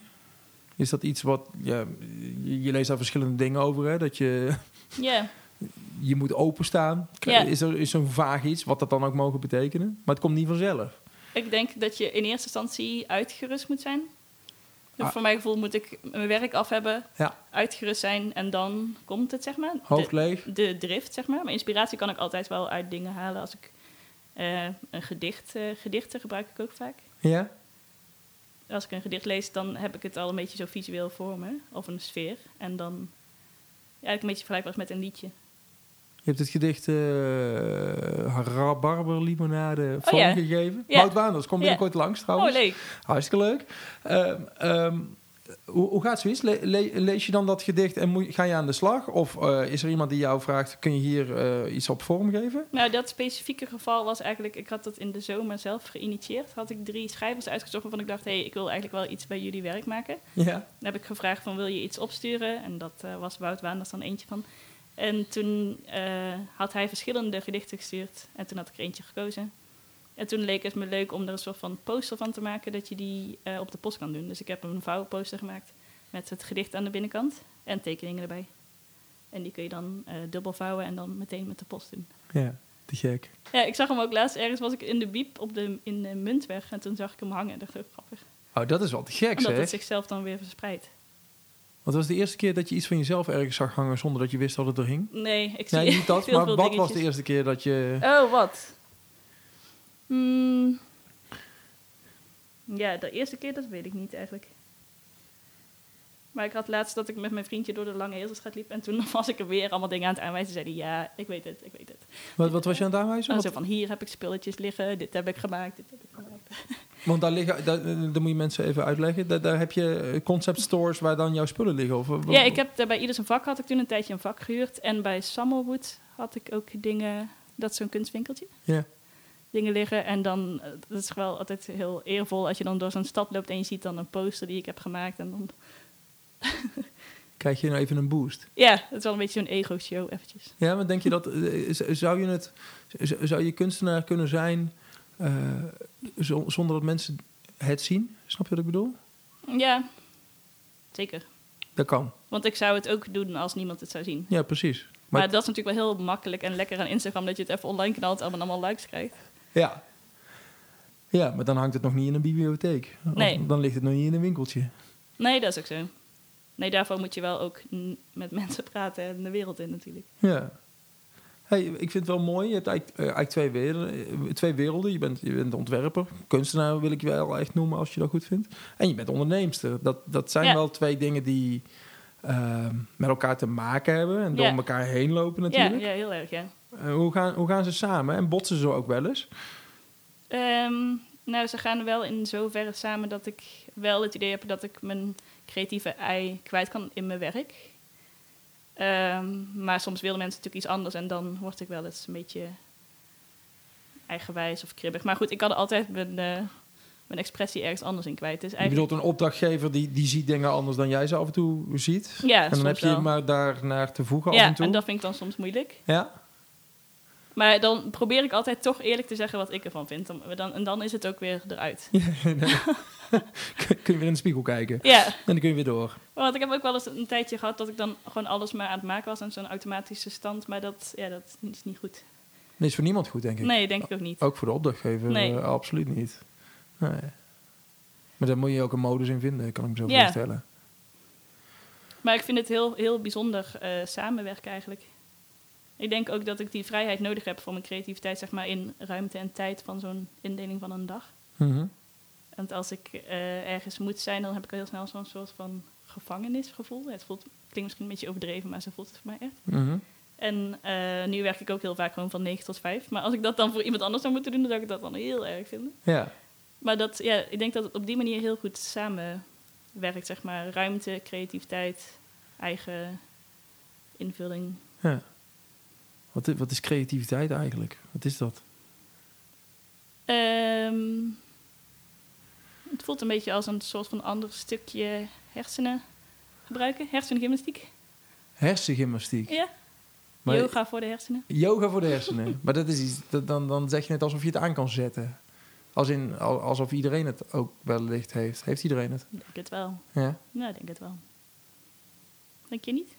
Speaker 2: Is dat iets wat... Ja, je, je leest daar verschillende dingen over, hè? Dat je,
Speaker 1: Ja,
Speaker 2: je moet openstaan.
Speaker 1: Ja.
Speaker 2: Is er is zo'n vaag iets, wat dat dan ook mogen betekenen? Maar het komt niet vanzelf.
Speaker 1: ik denk dat je in eerste instantie uitgerust moet zijn. Dus
Speaker 2: Ah.
Speaker 1: Voor mijn gevoel moet ik mijn werk af hebben,
Speaker 2: Ja.
Speaker 1: uitgerust zijn en dan komt het, zeg maar. De-
Speaker 2: Hoofd leeg.
Speaker 1: de drift, zeg maar. Maar inspiratie kan ik altijd wel uit dingen halen. Als ik eh, een gedicht, eh, gedichten gebruik ik ook vaak.
Speaker 2: Ja?
Speaker 1: Als ik een gedicht lees, dan heb ik het al een beetje zo visueel voor me. Of een sfeer. En dan ja, eigenlijk een beetje vergelijkbaar als met een liedje.
Speaker 2: Je hebt het gedicht eh Rabarberlimonade
Speaker 1: Oh, ja.
Speaker 2: vormgegeven.
Speaker 1: Ja.
Speaker 2: Wout Waanders, kom
Speaker 1: Ja.
Speaker 2: binnenkort langs trouwens.
Speaker 1: Oh, leuk.
Speaker 2: Hartstikke leuk. Ehm, ehm, hoe, hoe gaat zoiets? Le- le- lees je dan dat gedicht en moet, ga je aan de slag? Of eh, is er iemand die jou vraagt, kun je hier eh, iets op vormgeven?
Speaker 1: Nou, dat specifieke geval was eigenlijk... Ik had dat in de zomer zelf geïnitieerd. Had ik drie schrijvers uitgezocht waarvan ik dacht... hé, hey, ik wil eigenlijk wel iets bij jullie werk maken.
Speaker 2: Ja.
Speaker 1: Dan heb ik gevraagd van wil je iets opsturen? En dat eh, was Wout Waanders dan eentje van. En toen eh, had hij verschillende gedichten gestuurd. En toen had ik er eentje gekozen. En toen leek het me leuk om er een soort van poster van te maken... dat je die eh, op de post kan doen. Dus ik heb een vouwposter gemaakt met het gedicht aan de binnenkant... en tekeningen erbij. En die kun je dan eh, dubbel vouwen en dan meteen met de post doen.
Speaker 2: Ja, te gek.
Speaker 1: Ja, ik zag hem ook laatst ergens, was ik in de biep op de, in de Muntweg... en toen zag ik hem hangen en dacht ik, oh, grappig.
Speaker 2: Oh, dat is wel te gek
Speaker 1: Omdat het
Speaker 2: zeg.
Speaker 1: zichzelf dan weer verspreidt.
Speaker 2: Want was de eerste keer dat je iets van jezelf ergens zag hangen zonder dat je wist dat het er hing?
Speaker 1: Nee, ik zie
Speaker 2: Nee, niet dat.
Speaker 1: heel
Speaker 2: maar
Speaker 1: veel
Speaker 2: wat was de
Speaker 1: dingetjes.
Speaker 2: eerste keer dat je...
Speaker 1: Oh, wat? Hmm. Ja, de eerste keer, dat weet ik niet eigenlijk. Maar ik had laatst dat ik met mijn vriendje door de Lange Heelstraat liep. En toen was ik er weer allemaal dingen aan het aanwijzen. Zei hij, ja, ik weet het, ik weet het.
Speaker 2: Wat, wat was je aan het aanwijzen?
Speaker 1: Oh,
Speaker 2: Wat-
Speaker 1: zo van, hier heb ik spulletjes liggen. Dit heb ik gemaakt, dit heb ik gemaakt.
Speaker 2: Want daar liggen, daar, eh, daar moet je mensen even uitleggen. Daar, daar heb je eh, concept stores waar dan jouw spullen liggen. Of, eh,
Speaker 1: Ja, ik heb eh, bij ieder zijn vak had ik toen een tijdje een vak gehuurd. En bij Sammelwood had ik ook dingen, dat is zo'n kunstwinkeltje.
Speaker 2: Ja.
Speaker 1: Dingen liggen en dan, eh, dat is wel altijd heel eervol als je dan door zo'n stad loopt en je ziet dan een poster die ik heb gemaakt. En dan,
Speaker 2: Krijg je nou even een boost?
Speaker 1: ja, het is wel een beetje zo'n ego-show eventjes.
Speaker 2: Ja, maar denk je dat. eh, z- Zou je, het, z- zou je kunstenaar kunnen zijn eh, zo- zonder dat mensen het zien? Snap je wat ik bedoel?
Speaker 1: Ja, zeker.
Speaker 2: Dat kan.
Speaker 1: Want ik zou het ook doen als niemand het zou zien.
Speaker 2: Ja, precies.
Speaker 1: Maar,
Speaker 2: Maar-
Speaker 1: dat is natuurlijk wel heel makkelijk en lekker aan Instagram dat je het even online knalt en dan allemaal likes krijgt.
Speaker 2: Ja. Ja, maar dan hangt het nog niet in een bibliotheek. Of
Speaker 1: Nee.
Speaker 2: Dan ligt het nog niet in een winkeltje.
Speaker 1: Nee, dat is ook zo. Nee, daarvoor moet je wel ook mm, met mensen praten en de wereld in natuurlijk.
Speaker 2: Ja. Hey, ik vind het wel mooi. Je hebt eigenlijk, eh, eigenlijk twee, werelden, eh, twee werelden. Je bent, je bent ontwerper, kunstenaar wil ik je wel echt noemen als je dat goed vindt. En je bent onderneemster. Dat, dat zijn
Speaker 1: Ja.
Speaker 2: wel twee dingen die ehm, met elkaar te maken hebben en door
Speaker 1: Ja.
Speaker 2: elkaar heen lopen natuurlijk.
Speaker 1: Ja, ja, heel erg, ja.
Speaker 2: Eh, hoe, gaan, hoe gaan ze samen en botsen ze ook wel eens?
Speaker 1: Ehm, nou, ze gaan wel in zoverre samen dat ik wel het idee heb dat ik mijn creatieve ei kwijt kan in mijn werk. Ehm, maar soms willen mensen natuurlijk iets anders en dan word ik wel eens een beetje eigenwijs of kribbig. Maar goed, ik kan altijd mijn, eh, mijn expressie ergens anders in kwijt. Dus
Speaker 2: Je
Speaker 1: eigenlijk,
Speaker 2: bedoelt een opdrachtgever die, die ziet dingen anders dan jij ze af en toe ziet.
Speaker 1: ja,
Speaker 2: en dan
Speaker 1: soms
Speaker 2: heb je
Speaker 1: wel.
Speaker 2: maar daar naar te voegen af
Speaker 1: ja,
Speaker 2: en toe.
Speaker 1: en dat vind ik dan soms moeilijk.
Speaker 2: Ja,
Speaker 1: Maar dan probeer ik altijd toch eerlijk te zeggen wat ik ervan vind. Dan, dan- en dan is het ook weer eruit.
Speaker 2: kun je weer in de spiegel kijken. En
Speaker 1: Ja,
Speaker 2: dan kun je weer door.
Speaker 1: want ik heb ook wel eens een tijdje gehad dat ik dan gewoon alles maar aan het maken was. En zo'n automatische stand. Maar dat, ja, dat is niet goed.
Speaker 2: Dat is voor niemand goed, denk ik.
Speaker 1: Nee, denk ik ook niet.
Speaker 2: Ook voor de opdrachtgever
Speaker 1: Nee.
Speaker 2: eh, absoluut niet. Nee. Maar daar moet je ook een modus in vinden, kan ik me zo
Speaker 1: Ja.
Speaker 2: voorstellen.
Speaker 1: Maar ik vind het heel, heel bijzonder eh, samenwerken eigenlijk. Ik denk ook dat ik die vrijheid nodig heb voor mijn creativiteit, zeg maar, in ruimte en tijd van zo'n indeling van een dag.
Speaker 2: Mhm.
Speaker 1: Want als ik eh, ergens moet zijn, dan heb ik al heel snel zo'n soort van gevangenisgevoel. Het voelt, klinkt misschien een beetje overdreven, maar zo voelt het voor mij echt.
Speaker 2: Mhm.
Speaker 1: En eh, nu werk ik ook heel vaak gewoon van 9 tot 5. Maar als ik dat dan voor iemand anders zou moeten doen, dan zou ik dat dan heel erg vinden.
Speaker 2: Ja.
Speaker 1: Maar dat, ja, ik denk dat het op die manier heel goed samenwerkt, zeg maar. Ruimte, creativiteit, eigen invulling.
Speaker 2: ja. Wat, i- wat is creativiteit eigenlijk? Wat is dat?
Speaker 1: Ehm, het voelt een beetje als een soort van ander stukje hersenen gebruiken. Hersengymnastiek.
Speaker 2: Hersengymnastiek.
Speaker 1: Ja,
Speaker 2: Maar-
Speaker 1: yoga voor de hersenen.
Speaker 2: Yoga voor de hersenen. maar dat is iets, dat, dan, dan zeg je het alsof je het aan kan zetten. Als in, al- alsof iedereen het ook wellicht heeft. Heeft iedereen het?
Speaker 1: Ik denk het wel.
Speaker 2: Ja,
Speaker 1: Nou, ik denk het wel. Denk je niet?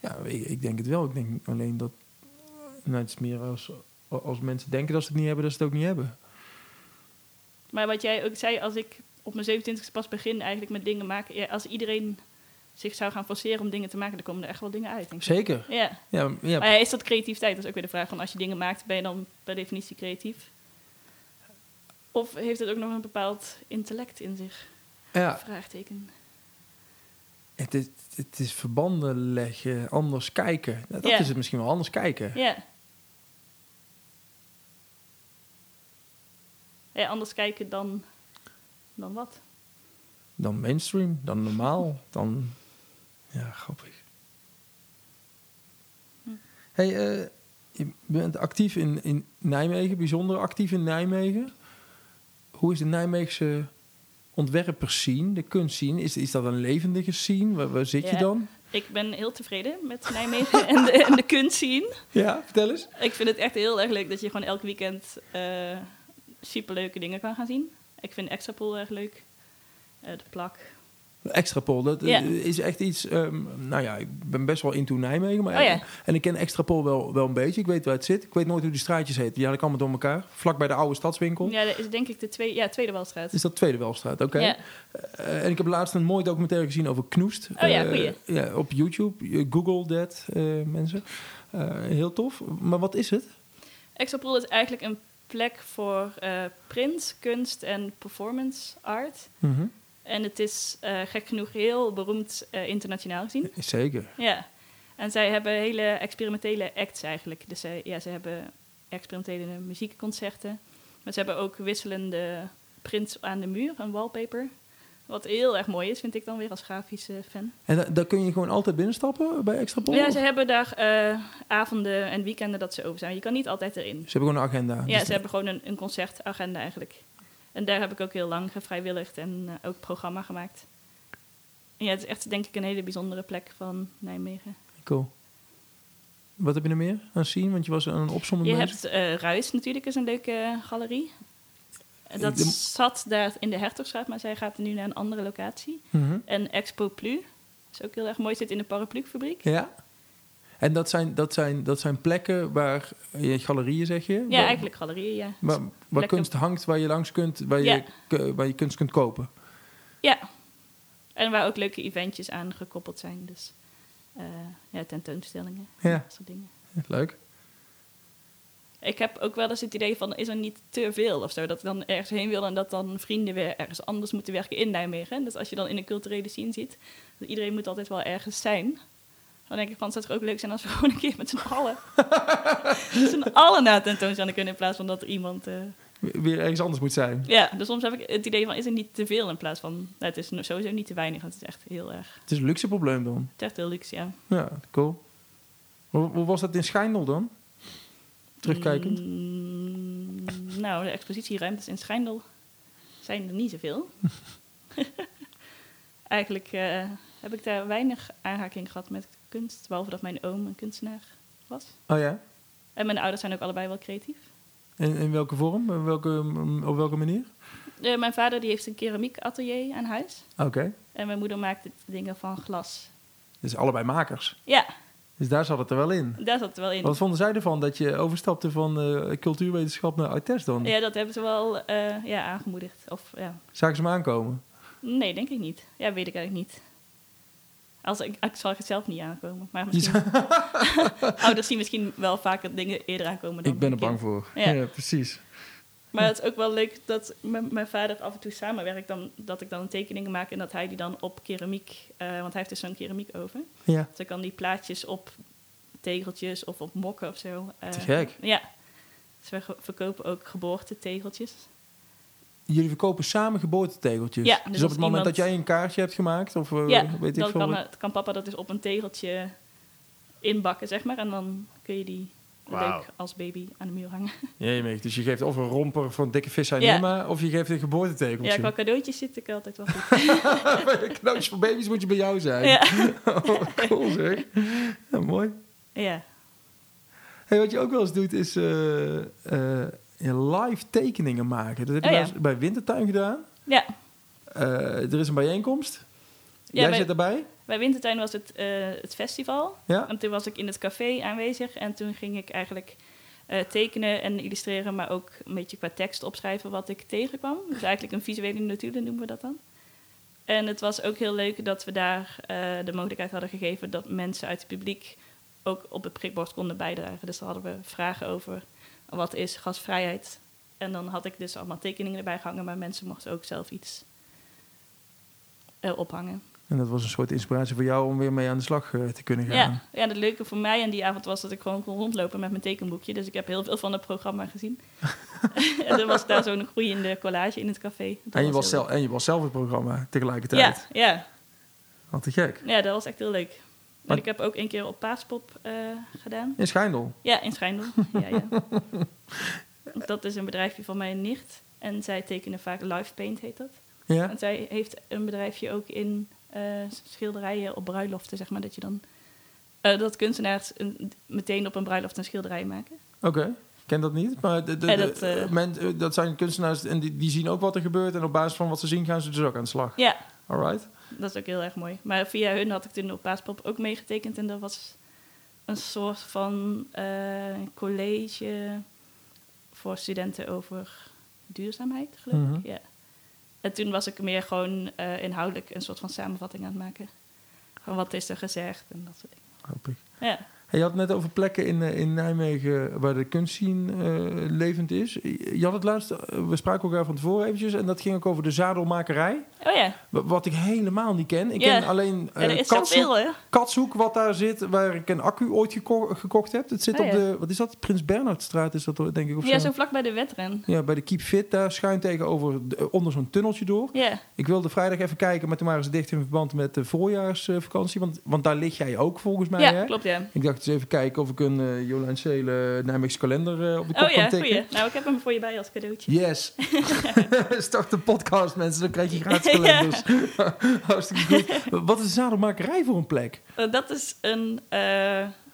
Speaker 2: ja ik, ik denk het wel. Ik denk alleen dat... Nou, het is meer als, als mensen denken dat ze het niet hebben, dat ze het ook niet hebben.
Speaker 1: Maar wat jij ook zei, als ik op mijn 27e pas begin eigenlijk met dingen maken. Ja, als iedereen zich zou gaan forceren om dingen te maken, dan komen er echt wel dingen uit. Denk ik.
Speaker 2: Zeker.
Speaker 1: Ja.
Speaker 2: Ja, ja,
Speaker 1: Maar ja, is dat creativiteit? Dat is ook weer de vraag. Van als je dingen maakt, ben je dan per definitie creatief? Of heeft het ook nog een bepaald intellect in zich?
Speaker 2: ja.
Speaker 1: Vraagteken.
Speaker 2: Het, is, het is verbanden leggen, anders kijken. Ja, dat
Speaker 1: Ja.
Speaker 2: is het misschien wel, anders kijken.
Speaker 1: Ja. ja. Anders kijken dan, dan wat?
Speaker 2: Dan mainstream, dan normaal, dan... Ja, grappig.
Speaker 1: Hm.
Speaker 2: Hey, eh, je bent actief in, in Nijmegen, bijzonder actief in Nijmegen. Hoe is de Nijmeegse ontwerpers zien, de kunst zien? Is, is dat een levendige scene? Waar, waar zit je
Speaker 1: Ja.
Speaker 2: dan?
Speaker 1: Ik ben heel tevreden met Nijmegen en de, en de kunst zien.
Speaker 2: Ja, vertel eens.
Speaker 1: Ik vind het echt heel erg leuk dat je gewoon elk weekend eh superleuke dingen kan gaan zien. Ik vind Extrapool erg leuk. Eh, de plak.
Speaker 2: Extrapol, dat eh,
Speaker 1: Ja.
Speaker 2: is echt iets... ehm, nou ja, ik ben best wel into Nijmegen. Maar
Speaker 1: Oh ja.
Speaker 2: En ik ken Extrapol wel, wel een beetje. Ik weet waar het zit. Ik weet nooit hoe die straatjes heten. Die had ik allemaal door elkaar. Vlak bij de oude stadswinkel.
Speaker 1: Ja, dat is denk ik de twee, ja, Tweede Walstraat.
Speaker 2: Is dat Tweede Welstraat, oké.
Speaker 1: Ja.
Speaker 2: Eh, en ik heb laatst een mooi documentaire gezien over Knoest.
Speaker 1: Oh ja,
Speaker 2: Eh,
Speaker 1: goeie.
Speaker 2: ja, op YouTube. Eh, Google dat, eh, mensen. Eh, heel tof. Maar wat is het?
Speaker 1: Extrapool is eigenlijk een plek voor eh, print, kunst en performance art.
Speaker 2: Mhm.
Speaker 1: En het is eh, gek genoeg heel beroemd eh, internationaal gezien.
Speaker 2: Zeker.
Speaker 1: Ja. En zij hebben hele experimentele acts eigenlijk. Dus zij, ja, ze hebben experimentele muziekconcerten. Maar ze hebben ook wisselende prints aan de muur, een wallpaper. Wat heel erg mooi is, vind ik dan weer als grafische fan.
Speaker 2: En da- daar kun je gewoon altijd binnenstappen bij Extrapol?
Speaker 1: Ja,
Speaker 2: Of-
Speaker 1: ze hebben daar eh, avonden en weekenden dat ze open zijn. Je kan niet altijd erin.
Speaker 2: Ze hebben gewoon een agenda.
Speaker 1: Ja,
Speaker 2: Dus-
Speaker 1: ze hebben gewoon een, een concertagenda eigenlijk. En daar heb ik ook heel lang gevrijwilligd en eh, ook programma gemaakt. En ja, het is echt denk ik een hele bijzondere plek van Nijmegen.
Speaker 2: Cool. Wat heb je nog meer aan zien? Want je was aan een opzomming
Speaker 1: Je
Speaker 2: bezig.
Speaker 1: hebt eh, Ruis natuurlijk, is een leuke eh, galerie. En Dat
Speaker 2: Ik dem-
Speaker 1: zat daar in de Hertogstraat, maar zij gaat nu naar een andere locatie.
Speaker 2: Mhm.
Speaker 1: En Expo Plu, is ook heel erg mooi, zit in de paraplufabriek.
Speaker 2: Ja. En dat zijn, dat zijn, dat zijn plekken waar je galerieën, zeg je?
Speaker 1: Ja,
Speaker 2: waar,
Speaker 1: eigenlijk galerieën, ja.
Speaker 2: Waar, waar
Speaker 1: Plekken.
Speaker 2: kunst hangt, waar je langs kunt, waar,
Speaker 1: Ja.
Speaker 2: je, k- waar je kunst kunt kopen.
Speaker 1: Ja. En waar ook leuke eventjes aan gekoppeld zijn. Dus eh, ja, tentoonstellingen,
Speaker 2: Ja.
Speaker 1: dat soort dingen.
Speaker 2: Leuk.
Speaker 1: Ik heb ook wel eens het idee van, is er niet te veel of zo? Dat ik dan ergens heen wil en dat dan vrienden weer ergens anders moeten werken in Nijmegen. Dus als je dan in een culturele scene ziet, dat iedereen moet altijd wel ergens zijn. Dan denk ik van, zou het toch ook leuk zijn als we gewoon een keer met z'n allen... met z'n allen naar een tentoonstelling kunnen in plaats van dat er iemand... eh,
Speaker 2: W- Weer ergens anders moet zijn.
Speaker 1: Ja, dus soms heb ik het idee van, is er niet te veel in plaats van... nou, het is sowieso niet te weinig, want het is echt heel erg...
Speaker 2: Het is een luxe probleem dan.
Speaker 1: Het is echt heel luxe, ja.
Speaker 2: Ja, cool. Hoe, hoe was dat in Schijndel dan? Terugkijkend.
Speaker 1: Mm, nou, de expositieruimtes in Schijndel zijn er niet zoveel. Eigenlijk eh, heb ik daar weinig aanraking gehad met kunst, behalve dat mijn oom een kunstenaar was.
Speaker 2: Oh ja?
Speaker 1: Eh, En mijn ouders zijn ook allebei wel creatief.
Speaker 2: In, in welke vorm? In welke, mm, op welke manier?
Speaker 1: Eh, mijn vader die heeft een keramiekatelier aan huis.
Speaker 2: Oké.
Speaker 1: En mijn moeder maakt dingen van glas.
Speaker 2: Dus allebei makers.
Speaker 1: Ja,
Speaker 2: Dus daar zat het er wel in.
Speaker 1: daar zat het wel in.
Speaker 2: Wat vonden zij ervan dat je overstapte van eh, cultuurwetenschap naar artes dan?
Speaker 1: Ja, dat hebben ze wel eh, ja, aangemoedigd. Of, ja.
Speaker 2: Zagen ze me aankomen?
Speaker 1: Nee, denk ik niet. Ja, weet ik eigenlijk niet. Als ik, ik zal het zelf niet aankomen. Maar misschien. Ouders zien misschien wel vaker dingen eerder aankomen. Dan
Speaker 2: Ik ben er
Speaker 1: een kind.
Speaker 2: bang voor.
Speaker 1: Ja.
Speaker 2: precies.
Speaker 1: Maar het is ook wel leuk dat mijn mijn vader af en toe samenwerkt. Dan, dat ik dan een tekening maak en dat hij die dan op keramiek. eh, want hij heeft dus zo'n keramiek over.
Speaker 2: Ja.
Speaker 1: Dus hij kan die plaatjes op tegeltjes of op mokken of zo. eh,
Speaker 2: Te gek.
Speaker 1: Ja. Dus we ge- verkopen ook geboortetegeltjes.
Speaker 2: Jullie verkopen samen geboortetegeltjes.
Speaker 1: Ja,
Speaker 2: dus,
Speaker 1: dus
Speaker 2: op
Speaker 1: als
Speaker 2: het moment
Speaker 1: iemand-
Speaker 2: dat jij een kaartje hebt gemaakt, of eh,
Speaker 1: ja,
Speaker 2: weet ik
Speaker 1: dan
Speaker 2: veel.
Speaker 1: kan,
Speaker 2: wat-
Speaker 1: het- kan papa dat dus op een tegeltje inbakken, zeg maar. En dan kun je die
Speaker 2: Wauw.
Speaker 1: leuk als baby aan de muur hangen.
Speaker 2: Jee, meek. Dus je geeft of een romper van dikke vis aan
Speaker 1: Ja.
Speaker 2: Nima, of je geeft een geboortetegeltje.
Speaker 1: Ja, qua cadeautjes zit ik altijd wel goed.
Speaker 2: Cadeautjes voor baby's moet je bij jou zijn.
Speaker 1: ja.
Speaker 2: cool zeg. Ja, mooi.
Speaker 1: ja.
Speaker 2: Hey, wat je ook wel eens doet, is eh, eh, live tekeningen maken. Dat heb je
Speaker 1: Oh,
Speaker 2: nou
Speaker 1: ja.
Speaker 2: eens bij Wintertuin gedaan.
Speaker 1: Ja,
Speaker 2: Eh, er is een bijeenkomst.
Speaker 1: Ja,
Speaker 2: Jij
Speaker 1: bij-
Speaker 2: zit daarbij.
Speaker 1: bij Wintertuin was het eh, het festival.
Speaker 2: Ja.
Speaker 1: En toen was ik in het café aanwezig en toen ging ik eigenlijk eh, tekenen en illustreren, maar ook een beetje qua tekst opschrijven wat ik tegenkwam. Dus eigenlijk een visuele notulen noemen we dat dan. En het was ook heel leuk dat we daar eh, de mogelijkheid hadden gegeven dat mensen uit het publiek ook op het prikbord konden bijdragen. Dus daar hadden we vragen over wat is gasvrijheid. En dan had ik dus allemaal tekeningen erbij gehangen, maar mensen mochten ook zelf iets eh, ophangen.
Speaker 2: En dat was een soort inspiratie voor jou om weer mee aan de slag eh, te kunnen gaan.
Speaker 1: Ja, ja, het leuke voor mij aan die avond was dat ik gewoon kon rondlopen met mijn tekenboekje. Dus ik heb heel veel van het programma gezien. en er was daar zo'n groeiende collage in het café. Dat
Speaker 2: En je, was
Speaker 1: heel
Speaker 2: zelf, en je was zelf het programma
Speaker 1: leuk.
Speaker 2: tegelijkertijd.
Speaker 1: Ja, ja,
Speaker 2: Wat te gek.
Speaker 1: ja, dat was echt heel leuk. En
Speaker 2: Maar-
Speaker 1: ik heb ook een keer op Paaspop eh, gedaan.
Speaker 2: In Schijndel.
Speaker 1: Ja, in Schijndel. ja, ja. Dat is een bedrijfje van mijn nicht. En zij tekenen vaak live paint, heet dat.
Speaker 2: Ja.
Speaker 1: En zij heeft een bedrijfje ook in eh, schilderijen op bruiloften, zeg maar. Dat je dan... eh, dat kunstenaars een- meteen op een bruiloft een schilderij maken.
Speaker 2: Oké. Ik ken dat niet. Maar de, de-
Speaker 1: Ja,
Speaker 2: de-
Speaker 1: dat, eh,
Speaker 2: men- eh, dat zijn kunstenaars en die, die zien ook wat er gebeurt. En op basis van wat ze zien gaan ze dus ook aan de slag.
Speaker 1: Ja,
Speaker 2: Alright.
Speaker 1: dat is ook heel erg mooi. Maar via hun had ik toen op Paaspop ook meegetekend. En dat was een soort van eh, college voor studenten over duurzaamheid, geloof ik.
Speaker 2: Mhm.
Speaker 1: ja. En toen was ik meer gewoon eh, inhoudelijk een soort van samenvatting aan het maken. Van wat is er gezegd en dat soort dingen.
Speaker 2: Hoop ik.
Speaker 1: Ja.
Speaker 2: Hey, je had het net over plekken in, eh, in Nijmegen waar de kunstzien eh, levend is. Je had het laatst, eh, we spraken elkaar van tevoren eventjes. En dat ging ook over de zadelmakerij.
Speaker 1: Oh ja,
Speaker 2: Wa- Wat ik helemaal niet ken. Ik
Speaker 1: Ja.
Speaker 2: ken alleen
Speaker 1: en er
Speaker 2: eh
Speaker 1: is
Speaker 2: Katsoek,
Speaker 1: zoveel, hè?
Speaker 2: Katsoek wat daar zit, waar ik een accu ooit geko- gekocht heb. Het zit
Speaker 1: Ah,
Speaker 2: op
Speaker 1: ja.
Speaker 2: de, wat is dat? Prins Bernhardstraat is dat denk ik of
Speaker 1: Ja,
Speaker 2: zo.
Speaker 1: zo vlak bij de wedren.
Speaker 2: Ja, bij de Keep Fit, daar schuin tegenover, de- eh, onder zo'n tunneltje door.
Speaker 1: Ja,
Speaker 2: Ik wilde vrijdag even kijken, maar toen waren ze dicht in verband met de voorjaarsvakantie. Want, want daar lig jij ook volgens mij,
Speaker 1: ja
Speaker 2: hè?
Speaker 1: klopt, ja.
Speaker 2: Ik dacht eens even kijken of ik een eh Jolijn Seelen Nijmeegse kalender eh, op de kop
Speaker 1: Oh
Speaker 2: kan
Speaker 1: ja,
Speaker 2: tikken.
Speaker 1: goeie. Nou, ik heb hem voor je bij als cadeautje.
Speaker 2: Yes. Start de podcast, mensen. Dan krijg je gratis kalenders. Hartstikke goed. Wat is de zadelmakerij voor een plek?
Speaker 1: Eh, dat is een. eh,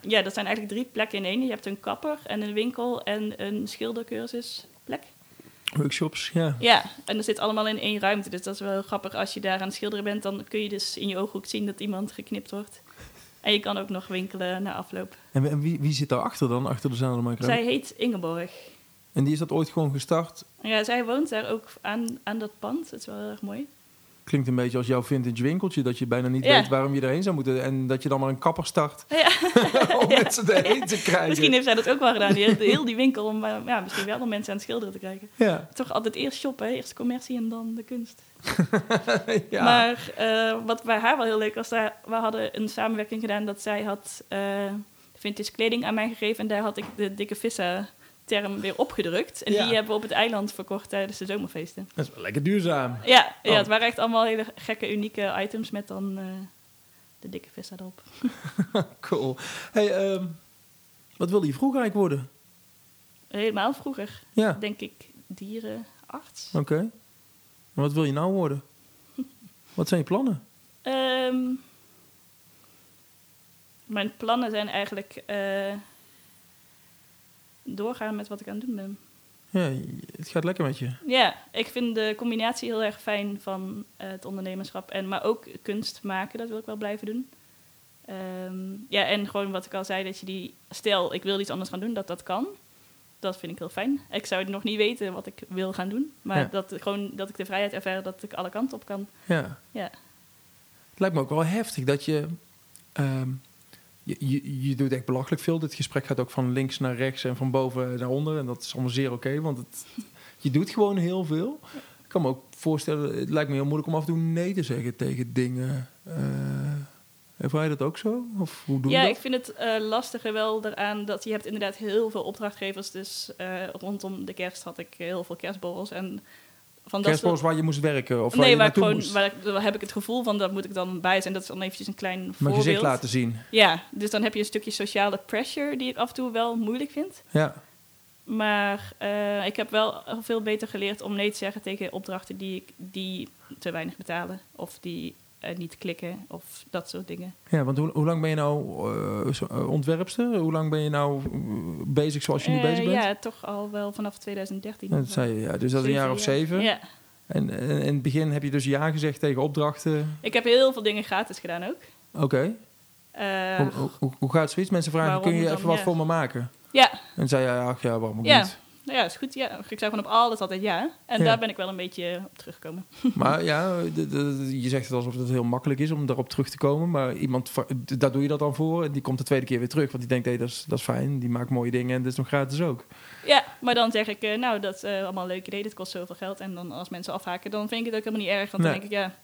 Speaker 1: ja, dat zijn eigenlijk drie plekken in één. Je hebt een kapper en een winkel en een schildercursusplek.
Speaker 2: Workshops, ja.
Speaker 1: Ja, en dat zit allemaal in één ruimte. Dus dat is wel heel grappig. Als je daar aan het schilderen bent, dan kun je dus in je ooghoek zien dat iemand geknipt wordt. En je kan ook nog winkelen na afloop.
Speaker 2: En, en wie, wie zit daarachter dan, achter de zadelmakerij?
Speaker 1: Zij heet Ingeborg.
Speaker 2: En die is dat ooit gewoon gestart.
Speaker 1: Ja, zij woont daar ook aan, aan dat pand. Dat is wel heel erg mooi.
Speaker 2: Klinkt een beetje als jouw vintage winkeltje. Dat je bijna niet
Speaker 1: Ja.
Speaker 2: weet waarom je erheen zou moeten. En dat je dan maar een kapper start
Speaker 1: Ja,
Speaker 2: om mensen erheen te krijgen.
Speaker 1: misschien heeft zij dat ook wel gedaan. Die heeft heel die winkel om eh, ja, misschien wel om mensen aan het schilderen te krijgen.
Speaker 2: Ja.
Speaker 1: Toch altijd eerst shoppen, hè? eerst commercie en dan de kunst.
Speaker 2: ja.
Speaker 1: Maar eh, wat bij haar wel heel leuk was, daar, we hadden een samenwerking gedaan dat zij had eh vintage kleding aan mij gegeven. En daar had ik de dikke vissen term weer opgedrukt. En
Speaker 2: Ja.
Speaker 1: die hebben we op het eiland verkocht tijdens de zomerfeesten.
Speaker 2: Dat is wel lekker duurzaam.
Speaker 1: Ja,
Speaker 2: Oh.
Speaker 1: ja het waren echt allemaal hele gekke, unieke items met dan eh, de dikke vissen erop.
Speaker 2: Cool. Hey, ehm, wat wilde je vroeger eigenlijk worden?
Speaker 1: Helemaal vroeger,
Speaker 2: Ja,
Speaker 1: denk ik, dierenarts.
Speaker 2: oké. En wat wil je nou worden? Wat zijn je plannen?
Speaker 1: Ehm, mijn plannen zijn eigenlijk eh, doorgaan met wat ik aan het doen ben.
Speaker 2: Ja, het gaat lekker met je.
Speaker 1: Ja, ik vind de combinatie heel erg fijn van eh, het ondernemerschap. En, maar ook kunst maken, dat wil ik wel blijven doen. Ehm, ja, en gewoon wat ik al zei, dat je die... Stel, ik wil iets anders gaan doen, dat dat kan. Dat vind ik heel fijn. Ik zou nog niet weten wat ik wil gaan doen. Maar
Speaker 2: Ja.
Speaker 1: dat, gewoon, dat ik de vrijheid ervaar dat ik alle kanten op kan.
Speaker 2: Ja.
Speaker 1: Ja.
Speaker 2: Het lijkt me ook wel heftig dat je, ehm, je, je... je doet echt belachelijk veel. Dit gesprek gaat ook van links naar rechts en van boven naar onder. En dat is allemaal zeer oké, want het, je doet gewoon heel veel. Ik kan me ook voorstellen, het lijkt me heel moeilijk om af en toe nee te zeggen tegen dingen. Eh ervaar je dat ook zo? Of hoe doe je
Speaker 1: Ja,
Speaker 2: dat?
Speaker 1: ik vind het eh, lastiger wel daaraan dat je hebt inderdaad heel veel opdrachtgevers. Dus eh, rondom de kerst had ik heel veel kerstborrels. En van dat soort
Speaker 2: Kerstborrels waar je moest werken of waar
Speaker 1: nee,
Speaker 2: je
Speaker 1: waar, ik
Speaker 2: naartoe
Speaker 1: gewoon,
Speaker 2: moest.
Speaker 1: waar, ik- daar heb ik het gevoel van, dat moet ik dan bij zijn. Dat is dan eventjes een klein
Speaker 2: Mijn
Speaker 1: voorbeeld.
Speaker 2: gezicht laten zien.
Speaker 1: Ja, dus dan heb je een stukje sociale pressure die ik af en toe wel moeilijk vind.
Speaker 2: Ja.
Speaker 1: Maar eh, ik heb wel veel beter geleerd om nee te zeggen tegen opdrachten die, ik, die te weinig betalen. Of die eh, niet klikken of dat soort dingen.
Speaker 2: ja, want hoe, hoe lang ben je nou eh, zo- eh, ontwerpster? Hoe lang ben je nou eh, bezig zoals je nu
Speaker 1: Eh,
Speaker 2: bezig bent?
Speaker 1: Ja, toch al wel vanaf 2013.
Speaker 2: Ja, dat zei je, ja. Dus dat is een
Speaker 1: Zeven
Speaker 2: jaar of zeven.
Speaker 1: Ja.
Speaker 2: En, en in het begin heb je dus ja gezegd tegen opdrachten.
Speaker 1: Ik heb heel veel dingen gratis gedaan ook.
Speaker 2: Oké,
Speaker 1: Eh,
Speaker 2: hoe, hoe- hoe, hoe gaat zoiets? Mensen vragen,
Speaker 1: Waarom
Speaker 2: kun je
Speaker 1: dan?
Speaker 2: even wat
Speaker 1: Ja.
Speaker 2: voor me maken?
Speaker 1: ja,
Speaker 2: En zei jij, ach ja, waarom ook
Speaker 1: Ja.
Speaker 2: niet?
Speaker 1: nou ja, is goed. Ja. Ik zei van op alles altijd ja. En
Speaker 2: Ja.
Speaker 1: daar ben ik wel een beetje op teruggekomen.
Speaker 2: Maar ja, d- d- d- je zegt het alsof het heel makkelijk is om daarop terug te komen. Maar iemand, va- d- daar doe je dat dan voor. En die komt de tweede keer weer terug. Want die denkt, hé, dat, is, dat is fijn. Die maakt mooie dingen en dat is nog gratis ook.
Speaker 1: Ja, maar dan zeg ik, eh, nou, dat is eh, allemaal een leuk idee, dit kost zoveel geld. En dan als mensen afhaken, dan vind ik het ook helemaal niet erg. Want
Speaker 2: Nee.
Speaker 1: dan denk ik, ja,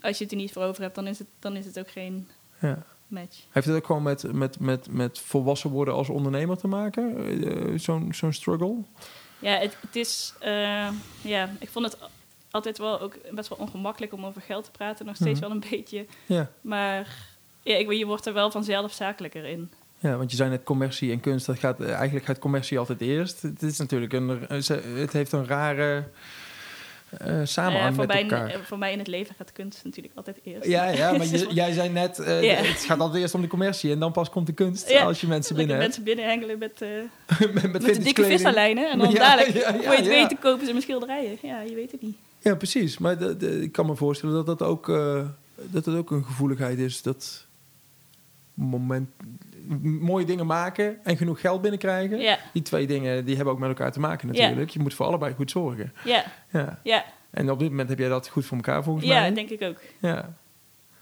Speaker 1: als je het er niet voor over hebt, dan is het, dan is het ook geen
Speaker 2: Ja.
Speaker 1: match.
Speaker 2: Heeft het ook gewoon met, met, met, met volwassen worden als ondernemer te maken? Eh, eh, Zo'n zo'n struggle?
Speaker 1: Ja, het, het is, eh, ja, ik vond het altijd wel ook best wel ongemakkelijk om over geld te praten. Nog steeds
Speaker 2: Mhm.
Speaker 1: wel een beetje.
Speaker 2: Ja.
Speaker 1: Maar ja, ik, weet- je wordt er wel vanzelf zakelijker in.
Speaker 2: ja, want je zei net commercie en kunst. Dat gaat, eh, eigenlijk gaat commercie altijd eerst. Het is natuurlijk een... eh, ze- Het heeft een rare eh
Speaker 1: Eh,
Speaker 2: samenhang
Speaker 1: voor,
Speaker 2: met
Speaker 1: mij,
Speaker 2: elkaar.
Speaker 1: eh, voor mij in het leven gaat kunst natuurlijk altijd eerst.
Speaker 2: ja, ja, maar
Speaker 1: Dus
Speaker 2: je- jij zei net, eh,
Speaker 1: Ja.
Speaker 2: het gaat altijd eerst om de commercie en dan pas komt de kunst
Speaker 1: Ja.
Speaker 2: als je mensen
Speaker 1: lekker
Speaker 2: binnen
Speaker 1: mensen
Speaker 2: hebt.
Speaker 1: binnenhengelen met, eh,
Speaker 2: met,
Speaker 1: met
Speaker 2: met
Speaker 1: de dikke
Speaker 2: vintage-kleding.
Speaker 1: visserlijnen. En dan
Speaker 2: Ja,
Speaker 1: dadelijk,
Speaker 2: ja, ja,
Speaker 1: hoe je het
Speaker 2: ja.
Speaker 1: weet, dan kopen ze mijn schilderijen. Ja, je weet het niet.
Speaker 2: Ja, precies. Maar de- de- ik kan me voorstellen dat dat ook, eh, dat dat ook een gevoeligheid is. Dat moment, m- mooie dingen maken en genoeg geld binnenkrijgen.
Speaker 1: Ja,
Speaker 2: Die twee dingen die hebben ook met elkaar te maken natuurlijk. Je moet voor allebei goed zorgen.
Speaker 1: ja,
Speaker 2: Ja.
Speaker 1: ja.
Speaker 2: En op dit moment heb jij dat goed voor elkaar volgens
Speaker 1: Ja,
Speaker 2: mij.
Speaker 1: denk ik ook.
Speaker 2: Ja,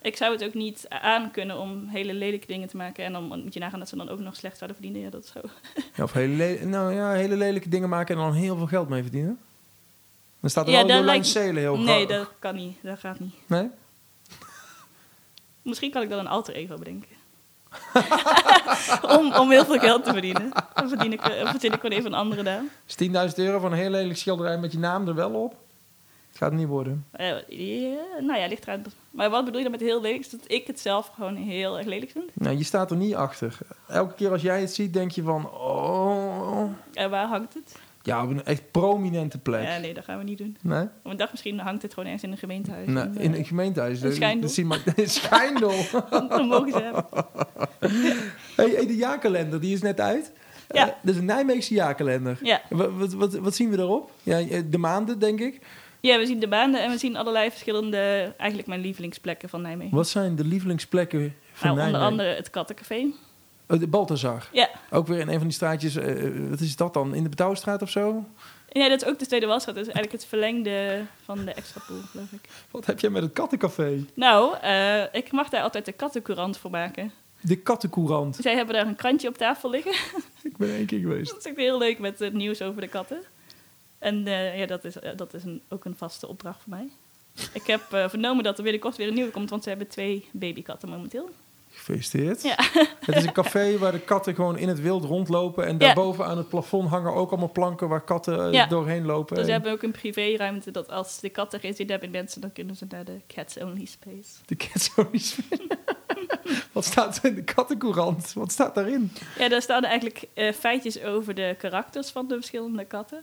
Speaker 1: Ik zou het ook niet aan kunnen om hele lelijke dingen te maken. En dan moet je nagaan dat ze dan ook nog slecht zouden verdienen. Ja, dat is zo.
Speaker 2: Ja, of hele, le- nou, ja, hele lelijke dingen maken en dan heel veel geld mee verdienen. Dan staat er
Speaker 1: Ja,
Speaker 2: wel
Speaker 1: dat
Speaker 2: heel lang
Speaker 1: lijkt-
Speaker 2: celen heel
Speaker 1: Nee,
Speaker 2: gra-
Speaker 1: dat kan niet. Dat gaat niet.
Speaker 2: Nee?
Speaker 1: Misschien kan ik dan een alter ego bedenken. om, om heel veel geld te verdienen. Dan verdien ik, eh, verzin ik gewoon even een andere naam.
Speaker 2: Is 10.000 euro van een heel lelijk schilderij met je naam er wel op? Het gaat het niet worden.
Speaker 1: Eh, ja, nou ja, ligt eraan. Maar wat bedoel je dan met heel lelijk? Is dat ik het zelf gewoon heel erg lelijk vind?
Speaker 2: Nou, je staat er niet achter. Elke keer als jij het ziet, denk je van... Oh,
Speaker 1: En waar hangt het?
Speaker 2: ja, op een echt prominente plek.
Speaker 1: Ja, nee, dat gaan we niet doen.
Speaker 2: Nee?
Speaker 1: Op een dag misschien hangt het gewoon ergens in een gemeentehuis. eh,
Speaker 2: Nou, in een gemeentehuis.
Speaker 1: Een schijndel.
Speaker 2: Dat zien maar- Een schijndel.
Speaker 1: Dan mogen ze hebben.
Speaker 2: hey, hey, de jaarkalender, die is net uit.
Speaker 1: Ja.
Speaker 2: Eh, dat is een Nijmeegse jaarkalender.
Speaker 1: Ja.
Speaker 2: Wat, wat, wat, wat zien we daarop? Ja, eh, de maanden, denk ik.
Speaker 1: ja, we zien de banen en we zien allerlei verschillende, eigenlijk mijn lievelingsplekken van Nijmegen.
Speaker 2: Wat zijn de lievelingsplekken van
Speaker 1: nou, onder
Speaker 2: Nijmegen?
Speaker 1: andere het Kattencafé.
Speaker 2: Oh, de Balthazar.
Speaker 1: Ja,
Speaker 2: Ook weer in een van die straatjes. eh, wat is dat dan? In de Betouwstraat of zo?
Speaker 1: nee, dat is ook de Tweede Wasstraat. Dat is eigenlijk het verlengde van de extra pool, geloof ik.
Speaker 2: Wat heb jij met het kattencafé?
Speaker 1: Nou, eh, ik mag daar altijd de kattencourant voor maken.
Speaker 2: De kattencourant.
Speaker 1: Zij hebben daar een krantje op tafel liggen.
Speaker 2: Ik ben één keer geweest.
Speaker 1: dat is echt heel leuk met het nieuws over de katten. En eh, ja, dat is, eh, dat is een, ook een vaste opdracht voor mij. Ik heb eh, vernomen dat er binnenkort weer een nieuwe komt, want ze hebben twee babykatten momenteel.
Speaker 2: Gefeliciteerd.
Speaker 1: Ja.
Speaker 2: Het is een café waar de katten gewoon in het wild rondlopen. En daarboven aan het plafond hangen ook allemaal planken waar katten eh,
Speaker 1: Ja.
Speaker 2: doorheen lopen.
Speaker 1: Dus ze
Speaker 2: En
Speaker 1: hebben ook een privéruimte dat als de kat erin zit hebben mensen, dan kunnen ze naar de cats only space.
Speaker 2: De cats ook niet spelen. Wat staat er in de kattencourant? Wat staat daarin?
Speaker 1: Ja, daar staan eigenlijk eh, feitjes over de karakters van de verschillende katten.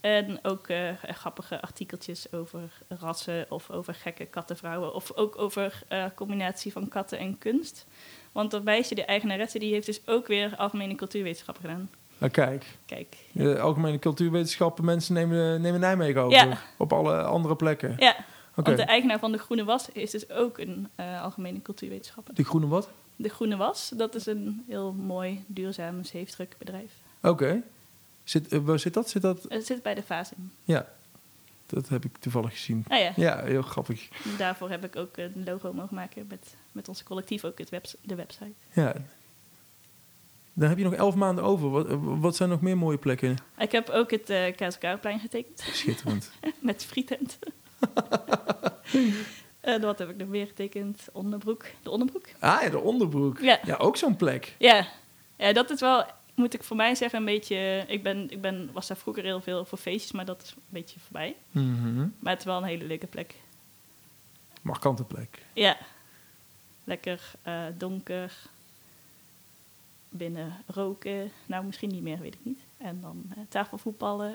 Speaker 1: En ook eh, grappige artikeltjes over rassen of over gekke kattenvrouwen. Of ook over eh, combinatie van katten en kunst. Want dat meisje, de eigenaresse, die heeft dus ook weer algemene cultuurwetenschappen gedaan.
Speaker 2: Nou, kijk,
Speaker 1: Kijk.
Speaker 2: de algemene cultuurwetenschappen mensen nemen, nemen Nijmegen over.
Speaker 1: Ja.
Speaker 2: Op alle andere plekken.
Speaker 1: Ja,
Speaker 2: Oké.
Speaker 1: want de eigenaar van De Groene Was is dus ook een eh, algemene cultuurwetenschapper.
Speaker 2: De groene wat?
Speaker 1: De Groene Was, dat is een heel mooi, duurzaam zeefdrukbedrijf.
Speaker 2: Oké. Zit, eh, waar zit dat? Zit dat?
Speaker 1: Het zit bij de fase in.
Speaker 2: Ja. Dat heb ik toevallig gezien.
Speaker 1: Nou ja,
Speaker 2: Ja, heel grappig.
Speaker 1: daarvoor heb ik ook een logo mogen maken met, met ons collectief, ook het webs- de website.
Speaker 2: Ja. Dan heb je nog elf maanden over. Wat, eh, wat zijn nog meer mooie plekken?
Speaker 1: Ik heb ook het eh KSK-plein getekend
Speaker 2: Schitterend.
Speaker 1: met frietent. en wat heb ik nog meer getekend? Onderbroek. De onderbroek?
Speaker 2: ah, ja, de onderbroek.
Speaker 1: Ja.
Speaker 2: Ja, ook zo'n plek.
Speaker 1: Ja. ja, dat is wel, moet ik voor mij zeggen, een beetje... Ik, ben, ik ben, was daar vroeger heel veel voor feestjes, maar dat is een beetje voorbij.
Speaker 2: Mhm.
Speaker 1: Maar het is wel een hele leuke plek.
Speaker 2: Markante plek.
Speaker 1: Ja. Lekker eh, donker. Binnen roken. Nou, misschien niet meer, weet ik niet. En dan eh, tafelvoetballen,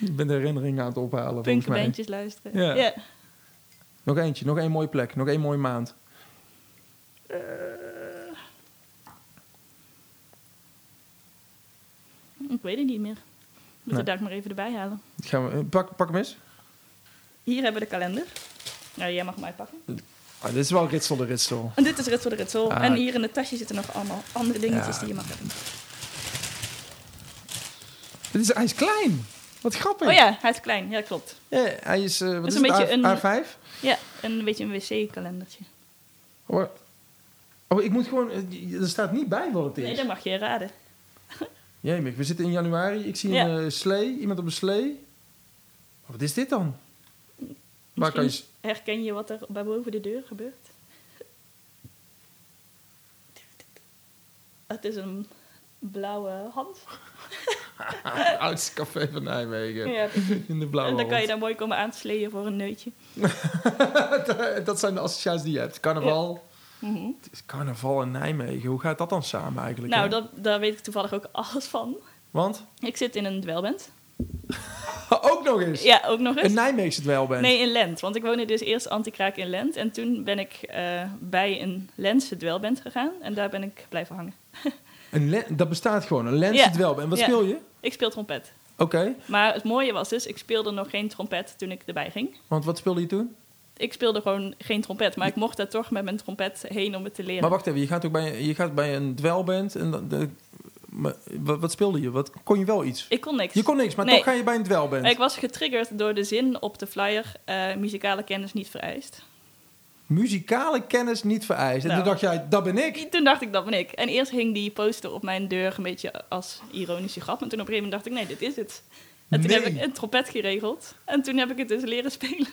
Speaker 2: Ik ben de herinneringen aan het ophalen. volgens mij.
Speaker 1: punkenbandjes luisteren.
Speaker 2: Ja.
Speaker 1: Ja.
Speaker 2: Nog eentje, nog één mooie plek, nog één mooie maand.
Speaker 1: Ik weet het niet meer. Moet
Speaker 2: Nee.
Speaker 1: het daar maar even erbij halen.
Speaker 2: Gaan we, eh, pak, pak hem eens.
Speaker 1: Hier hebben we de kalender. Nou, jij mag hem uitpakken.
Speaker 2: Ah, dit is wel ritsel de ritsel.
Speaker 1: En dit is Ritsel de Ritsel.
Speaker 2: Ah.
Speaker 1: En hier in het tasje zitten nog allemaal andere dingetjes
Speaker 2: Ja.
Speaker 1: die je mag hebben.
Speaker 2: Dit is, hij is klein. Wat grappig.
Speaker 1: Oh ja, hij is klein. Ja, klopt.
Speaker 2: Ja, hij is, eh, wat
Speaker 1: is
Speaker 2: is,
Speaker 1: een
Speaker 2: het,
Speaker 1: beetje
Speaker 2: A-
Speaker 1: een-
Speaker 2: A5?
Speaker 1: Ja, een beetje een wc-kalendertje.
Speaker 2: Oh, oh, ik moet gewoon... eh, Er staat niet bij wat het is.
Speaker 1: Nee, dat mag je raden.
Speaker 2: Jemig, we zitten in januari. Ik zie
Speaker 1: Ja.
Speaker 2: een eh, slee, iemand op een slee. Oh, wat is dit dan? Waar kan je... s-
Speaker 1: Herken je wat er bij boven de deur gebeurt? Het is een blauwe hand.
Speaker 2: Ah, oudste café van Nijmegen.
Speaker 1: Ja,
Speaker 2: In de blauwe
Speaker 1: en dan kan je
Speaker 2: hand.
Speaker 1: daar mooi komen aansleeën voor een neutje.
Speaker 2: Dat zijn de associaties die je hebt. Carnaval.
Speaker 1: Mhm.
Speaker 2: Het is carnaval in Nijmegen. Hoe gaat dat dan samen eigenlijk? hè?
Speaker 1: Nou, dat, daar weet ik toevallig ook alles van.
Speaker 2: Want?
Speaker 1: Ik zit in een dwelband.
Speaker 2: ook nog eens.
Speaker 1: Ja, ook nog eens.
Speaker 2: Dus Een Nijmeegse dwelband.
Speaker 1: Nee, in Lent. Want ik woonde dus eerst antikraak in Lent. En toen ben ik eh, bij een Lentse dwelband gegaan. En daar ben ik blijven hangen.
Speaker 2: Een le- dat bestaat gewoon. Een Lentse
Speaker 1: Ja.
Speaker 2: dwelband. Wat
Speaker 1: Ja.
Speaker 2: speel je?
Speaker 1: Ik speel trompet.
Speaker 2: Oké.
Speaker 1: Maar het mooie was dus, ik speelde nog geen trompet toen ik erbij ging.
Speaker 2: Want wat speelde je toen?
Speaker 1: Ik speelde gewoon geen trompet. Maar ik mocht daar toch met mijn trompet heen om het te leren.
Speaker 2: Maar wacht even. Je gaat ook bij, je gaat bij een dwelband. En dan, de- maar wat, wat speelde je? Wat, kon je wel iets?
Speaker 1: Ik kon niks.
Speaker 2: Je kon niks, maar
Speaker 1: Nee.
Speaker 2: toch ga je bij een dwelband.
Speaker 1: Ik was getriggerd door de zin op de flyer, eh, muzikale kennis niet vereist.
Speaker 2: Muzikale kennis niet vereist. En
Speaker 1: Nou.
Speaker 2: toen dacht jij, dat ben ik.
Speaker 1: Toen dacht ik, dat ben ik. En eerst hing die poster op mijn deur een beetje als ironische grap. En toen op een gegeven moment dacht ik, nee, dit is het. En toen
Speaker 2: Nee.
Speaker 1: heb ik een trompet geregeld. En toen heb ik het dus leren spelen.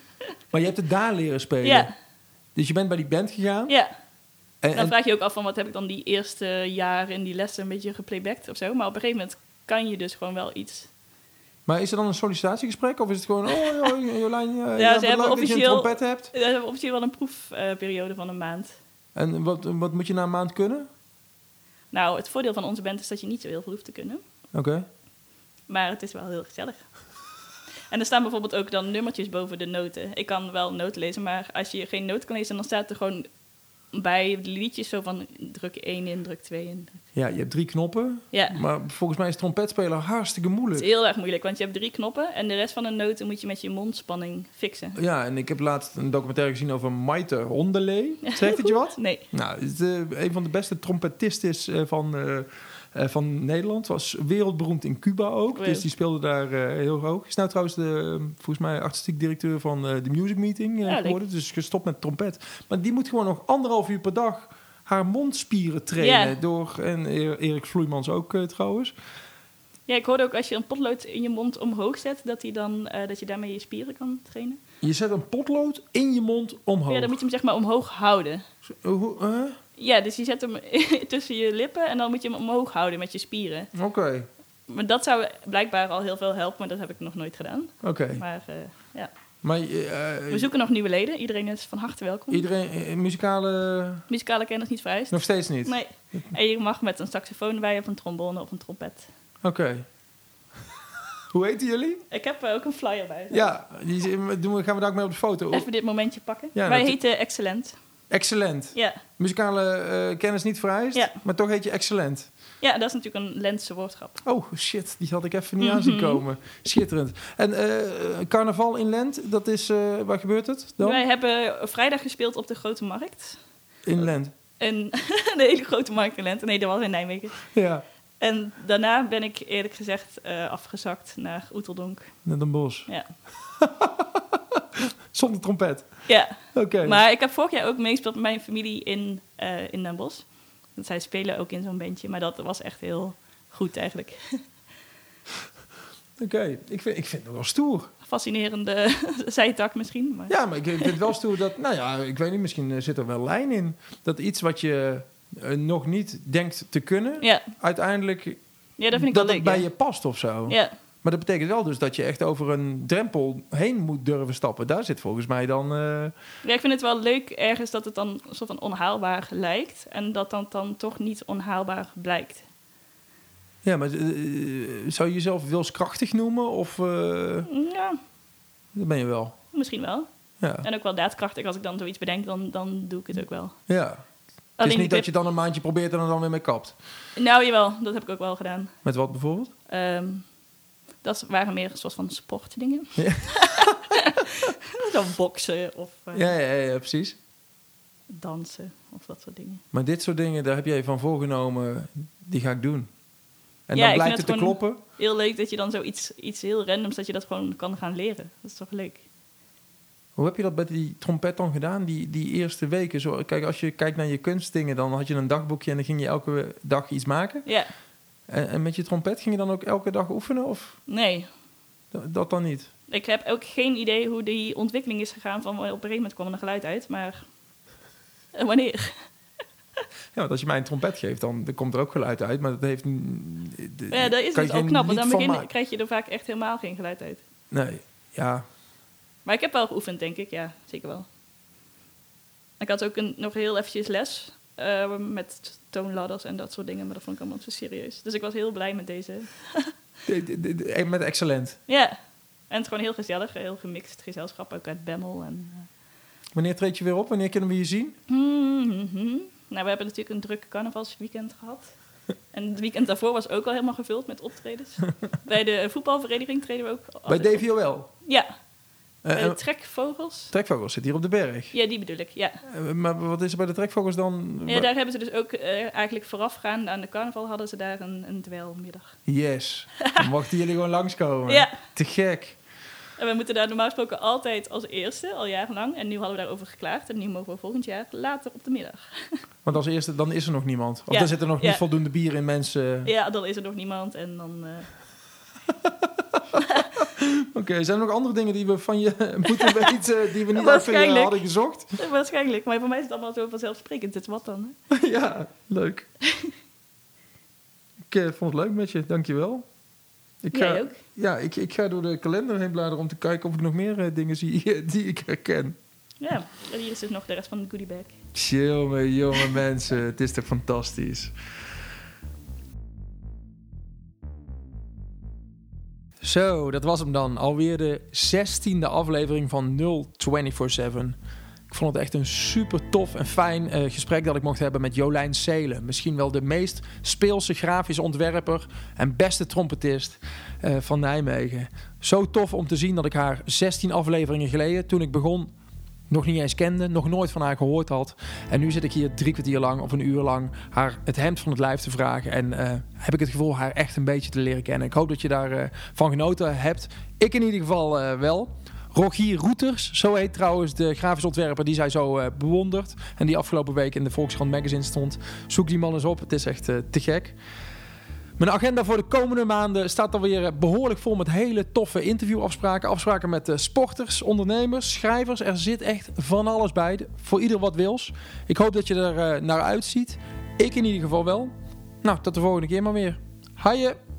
Speaker 2: Maar je hebt het daar leren spelen.
Speaker 1: Ja,
Speaker 2: Dus je bent bij die band gegaan.
Speaker 1: ja.
Speaker 2: En,
Speaker 1: Dan
Speaker 2: en,
Speaker 1: vraag je ook af van, wat heb ik dan die eerste jaren in die lessen een beetje geplaybacked of zo. Maar op een gegeven moment kan je dus gewoon wel iets.
Speaker 2: maar is er dan een sollicitatiegesprek? Of is het gewoon, oh joh, Jolijn, ja,
Speaker 1: ze
Speaker 2: wat
Speaker 1: hebben
Speaker 2: leuk dat je een
Speaker 1: officieel-
Speaker 2: trompet hebt.
Speaker 1: We hebben op zich wel een proefperiode van een maand.
Speaker 2: En wat, wat moet je na een maand kunnen?
Speaker 1: Nou, het voordeel van onze band is dat je niet zo heel veel hoeft te kunnen.
Speaker 2: Oké.
Speaker 1: Maar het is wel heel gezellig. En er staan bijvoorbeeld ook dan nummertjes boven de noten. Ik kan wel noten lezen, maar als je geen noot kan lezen, dan staat er gewoon bij de liedjes zo van druk 1 in, druk 2 in.
Speaker 2: Ja, je hebt drie knoppen.
Speaker 1: Ja,
Speaker 2: Maar volgens mij is trompetspelen hartstikke
Speaker 1: het
Speaker 2: moeilijk.
Speaker 1: is heel erg moeilijk, want je hebt drie knoppen en de rest van de noten moet je met je mondspanning fixen.
Speaker 2: Ja, en ik heb laatst een documentaire gezien over Maite Rondelee. Zegt het je wat?
Speaker 1: Nee,
Speaker 2: Nou, het, eh, een van de beste trompetisten is, eh, van, eh, eh, van Nederland. Was wereldberoemd in Cuba ook.
Speaker 1: Wow.
Speaker 2: Dus die speelde daar eh, heel hoog. Is nou trouwens de, eh, volgens mij artistiek directeur van eh, de Music Meeting eh,
Speaker 1: Ja, leuk.
Speaker 2: geworden. Dus gestopt met trompet. Maar die moet gewoon nog anderhalf uur per dag haar mondspieren trainen.
Speaker 1: Ja.
Speaker 2: Door, en E- Erik Vloeimans ook eh, trouwens.
Speaker 1: ja, ik hoorde ook als je een potlood in je mond omhoog zet, dat, die dan, eh, dat je daarmee je spieren kan trainen.
Speaker 2: Je zet een potlood in je mond omhoog.
Speaker 1: Ja, dan moet je hem zeg maar omhoog houden.
Speaker 2: Eh, hoe- eh?
Speaker 1: Ja, dus je zet hem tussen je lippen en dan moet je hem omhoog houden met je spieren.
Speaker 2: Oké,
Speaker 1: Maar dat zou blijkbaar al heel veel helpen, maar dat heb ik nog nooit gedaan.
Speaker 2: oké.
Speaker 1: Maar eh, ja,
Speaker 2: Maar eh,
Speaker 1: we zoeken nog nieuwe leden. Iedereen is van harte welkom.
Speaker 2: iedereen, eh, muzikale
Speaker 1: Muzikale kennis niet vereist.
Speaker 2: nog steeds niet?
Speaker 1: Nee. En je mag met een saxofoon bij of een trombone of een trompet.
Speaker 2: Oké. Hoe heten jullie?
Speaker 1: Ik heb eh, ook een flyer bij.
Speaker 2: Ja, die, die doen we- gaan we daar ook mee op de foto.
Speaker 1: Even dit momentje pakken.
Speaker 2: oh. Ja,
Speaker 1: Wij
Speaker 2: dat-
Speaker 1: heten Excellent.
Speaker 2: Excellent.
Speaker 1: Ja.
Speaker 2: Muzikale eh, kennis niet vereist,
Speaker 1: Ja.
Speaker 2: maar toch heet je excellent.
Speaker 1: ja, dat is natuurlijk een Lentse woordgrap.
Speaker 2: Oh shit, die had ik even niet aan zien
Speaker 1: Mhm.
Speaker 2: komen. Schitterend. En eh, carnaval in Lent, dat is, eh, waar gebeurt het dan?
Speaker 1: Wij hebben vrijdag gespeeld op de Grote Markt.
Speaker 2: In Lent.
Speaker 1: En de hele Grote Markt in Lent. Nee, dat was in Nijmegen.
Speaker 2: Ja,
Speaker 1: En daarna ben ik eerlijk gezegd eh, afgezakt naar Oeteldonk.
Speaker 2: net een bos.
Speaker 1: Ja.
Speaker 2: Zonder trompet.
Speaker 1: Ja,
Speaker 2: Oké.
Speaker 1: maar ik heb vorig jaar ook meegespeeld met mijn familie in, eh in Den Bosch. Want zij spelen ook in zo'n bandje, maar dat was echt heel goed eigenlijk.
Speaker 2: Oké, ik, vind, ik vind het wel stoer.
Speaker 1: Fascinerende zijtak misschien. Maar...
Speaker 2: Ja, maar ik vind het wel stoer dat, nou ja, ik weet niet, misschien eh, zit er wel lijn in. Dat iets wat je eh, nog niet denkt te kunnen,
Speaker 1: Ja.
Speaker 2: uiteindelijk
Speaker 1: ja, dat vind ik
Speaker 2: dat
Speaker 1: wel leuk.
Speaker 2: het bij
Speaker 1: ja.
Speaker 2: je past of zo.
Speaker 1: Ja.
Speaker 2: Maar dat betekent wel dus dat je echt over een drempel heen moet durven stappen. Daar zit volgens mij dan... eh,
Speaker 1: ja, ik vind het wel leuk ergens dat het dan een soort van onhaalbaar lijkt. En dat dan, dan toch niet onhaalbaar blijkt.
Speaker 2: Ja, maar eh, zou je jezelf wilskrachtig noemen? Of eh,
Speaker 1: Ja,
Speaker 2: dat ben je wel?
Speaker 1: misschien wel.
Speaker 2: Ja.
Speaker 1: En ook wel daadkrachtig. Als ik dan zoiets bedenk, dan, dan doe ik het ook wel.
Speaker 2: ja. Het is
Speaker 1: Alleen
Speaker 2: niet
Speaker 1: ik
Speaker 2: dat je dan een maandje probeert en er dan weer mee kapt.
Speaker 1: Nou, jawel. Dat heb ik ook wel gedaan.
Speaker 2: Met wat bijvoorbeeld?
Speaker 1: Ehm, dat waren meer een soort van sportdingen.
Speaker 2: Ja.
Speaker 1: Dan boksen of eh,
Speaker 2: Ja, ja, ja, ja, precies.
Speaker 1: dansen of dat soort dingen.
Speaker 2: Maar dit soort dingen, daar heb jij van voorgenomen, die ga ik doen. En
Speaker 1: Ja,
Speaker 2: dan
Speaker 1: ik
Speaker 2: blijkt het
Speaker 1: vind
Speaker 2: te
Speaker 1: het gewoon-
Speaker 2: kloppen.
Speaker 1: Heel leuk dat je dan zoiets iets heel randoms, dat je dat gewoon kan gaan leren. Dat is toch leuk?
Speaker 2: Hoe heb je dat bij die trompet dan gedaan, die, die eerste weken? Zo, kijk, als je kijkt naar je kunstdingen, dan had je een dagboekje en dan ging je elke dag iets maken.
Speaker 1: Ja,
Speaker 2: En, en met je trompet ging je dan ook elke dag oefenen of
Speaker 1: nee.
Speaker 2: d- dat dan niet?
Speaker 1: Ik heb ook geen idee hoe die ontwikkeling is gegaan van, wel, op een gegeven moment kwam er een geluid uit, maar eh, wanneer?
Speaker 2: Ja, want als je mij een trompet geeft, dan dan komt er ook geluid uit. Maar dat heeft... n- de-
Speaker 1: Ja, dat is
Speaker 2: kan
Speaker 1: het
Speaker 2: je
Speaker 1: al
Speaker 2: geen
Speaker 1: knap, want
Speaker 2: lied
Speaker 1: aan het
Speaker 2: van
Speaker 1: begin
Speaker 2: maken.
Speaker 1: krijg je er vaak echt helemaal geen geluid uit.
Speaker 2: Nee, ja.
Speaker 1: Maar ik heb wel geoefend, denk ik. Ja, zeker wel. Ik had ook een, nog heel eventjes les eh, met toonladders en dat soort dingen. Maar dat vond ik allemaal te serieus. Dus ik was heel blij met deze.
Speaker 2: De- de- de- de- met excellent.
Speaker 1: Ja. En het is gewoon heel gezellig. Heel gemixt gezelschap. Ook uit Bemmel. En,
Speaker 2: Wanneer treed je weer op? Wanneer kunnen we je zien?
Speaker 1: eh, mhm. Nou, we hebben natuurlijk een druk carnavalsweekend gehad. En het weekend daarvoor was ook al helemaal gevuld met optredens. Bij de voetbalvereniging treden we ook. altijd
Speaker 2: Bij
Speaker 1: op.
Speaker 2: DVOL.
Speaker 1: Ja, bij
Speaker 2: Eh
Speaker 1: de
Speaker 2: eh,
Speaker 1: trekvogels.
Speaker 2: Trekvogels zit hier op de berg.
Speaker 1: Ja, die bedoel ik, ja.
Speaker 2: Eh, maar wat is er bij de trekvogels dan?
Speaker 1: Ja, daar hebben ze dus ook eh, eigenlijk voorafgaand aan de carnaval hadden ze daar een, een dweilmiddag.
Speaker 2: Yes. Dan mochten jullie gewoon langskomen.
Speaker 1: Ja,
Speaker 2: Te gek.
Speaker 1: en we moeten daar normaal gesproken altijd als eerste, al jarenlang. En nu hadden we daarover geklaagd en nu mogen we volgend jaar later op de middag.
Speaker 2: Want als eerste, dan is er nog niemand. Of
Speaker 1: Ja,
Speaker 2: dan zit er nog
Speaker 1: ja.
Speaker 2: niet voldoende bier in mensen.
Speaker 1: Ja, dan is er nog niemand en dan... eh,
Speaker 2: Oké, zijn er nog andere dingen die we van je moeten weten... die we niet even eh,
Speaker 1: Waarschijnlijk.
Speaker 2: hadden gezocht?
Speaker 1: waarschijnlijk, maar voor mij is het allemaal zo vanzelfsprekend. Het wat dan, hè?
Speaker 2: Ja, leuk. ik eh, vond het leuk met je, dankjewel. Ik eh, ga,
Speaker 1: Jij ook?
Speaker 2: Ja, ik, ik ga door de kalender heen bladeren om te kijken of ik nog meer eh, dingen zie eh, die ik herken.
Speaker 1: Ja, en hier is dus nog de rest van de goodiebag.
Speaker 2: Chill me, jonge mensen. Het is toch fantastisch. Zo, dat was hem dan. Alweer de 16e aflevering van 0247. Ik vond het echt een super tof en fijn eh, gesprek dat ik mocht hebben met Jolijn Seelen. Misschien wel de meest speelse grafisch ontwerper en beste trompetist eh, van Nijmegen. Zo tof om te zien dat ik haar 16 afleveringen geleden, toen ik begon, nog niet eens kende, nog nooit van haar gehoord had. En nu zit ik hier drie kwartier lang of een uur lang haar het hemd van het lijf te vragen. En eh, heb ik het gevoel haar echt een beetje te leren kennen. Ik hoop dat je daar eh, van genoten hebt. Ik in ieder geval eh, wel. Rogier Roeters, zo heet trouwens de grafisch ontwerper die zij zo eh, bewondert. En die afgelopen week in de Volkskrant magazine stond. Zoek die man eens op, het is echt eh, te gek. Mijn agenda voor de komende maanden staat alweer eh, behoorlijk vol met hele toffe interviewafspraken. Afspraken met eh, sporters, ondernemers, schrijvers. Er zit echt van alles bij. De- Voor ieder wat wils. Ik hoop dat je er eh, naar uitziet. Ik in ieder geval wel. Nou, tot de volgende keer maar weer. Haaien!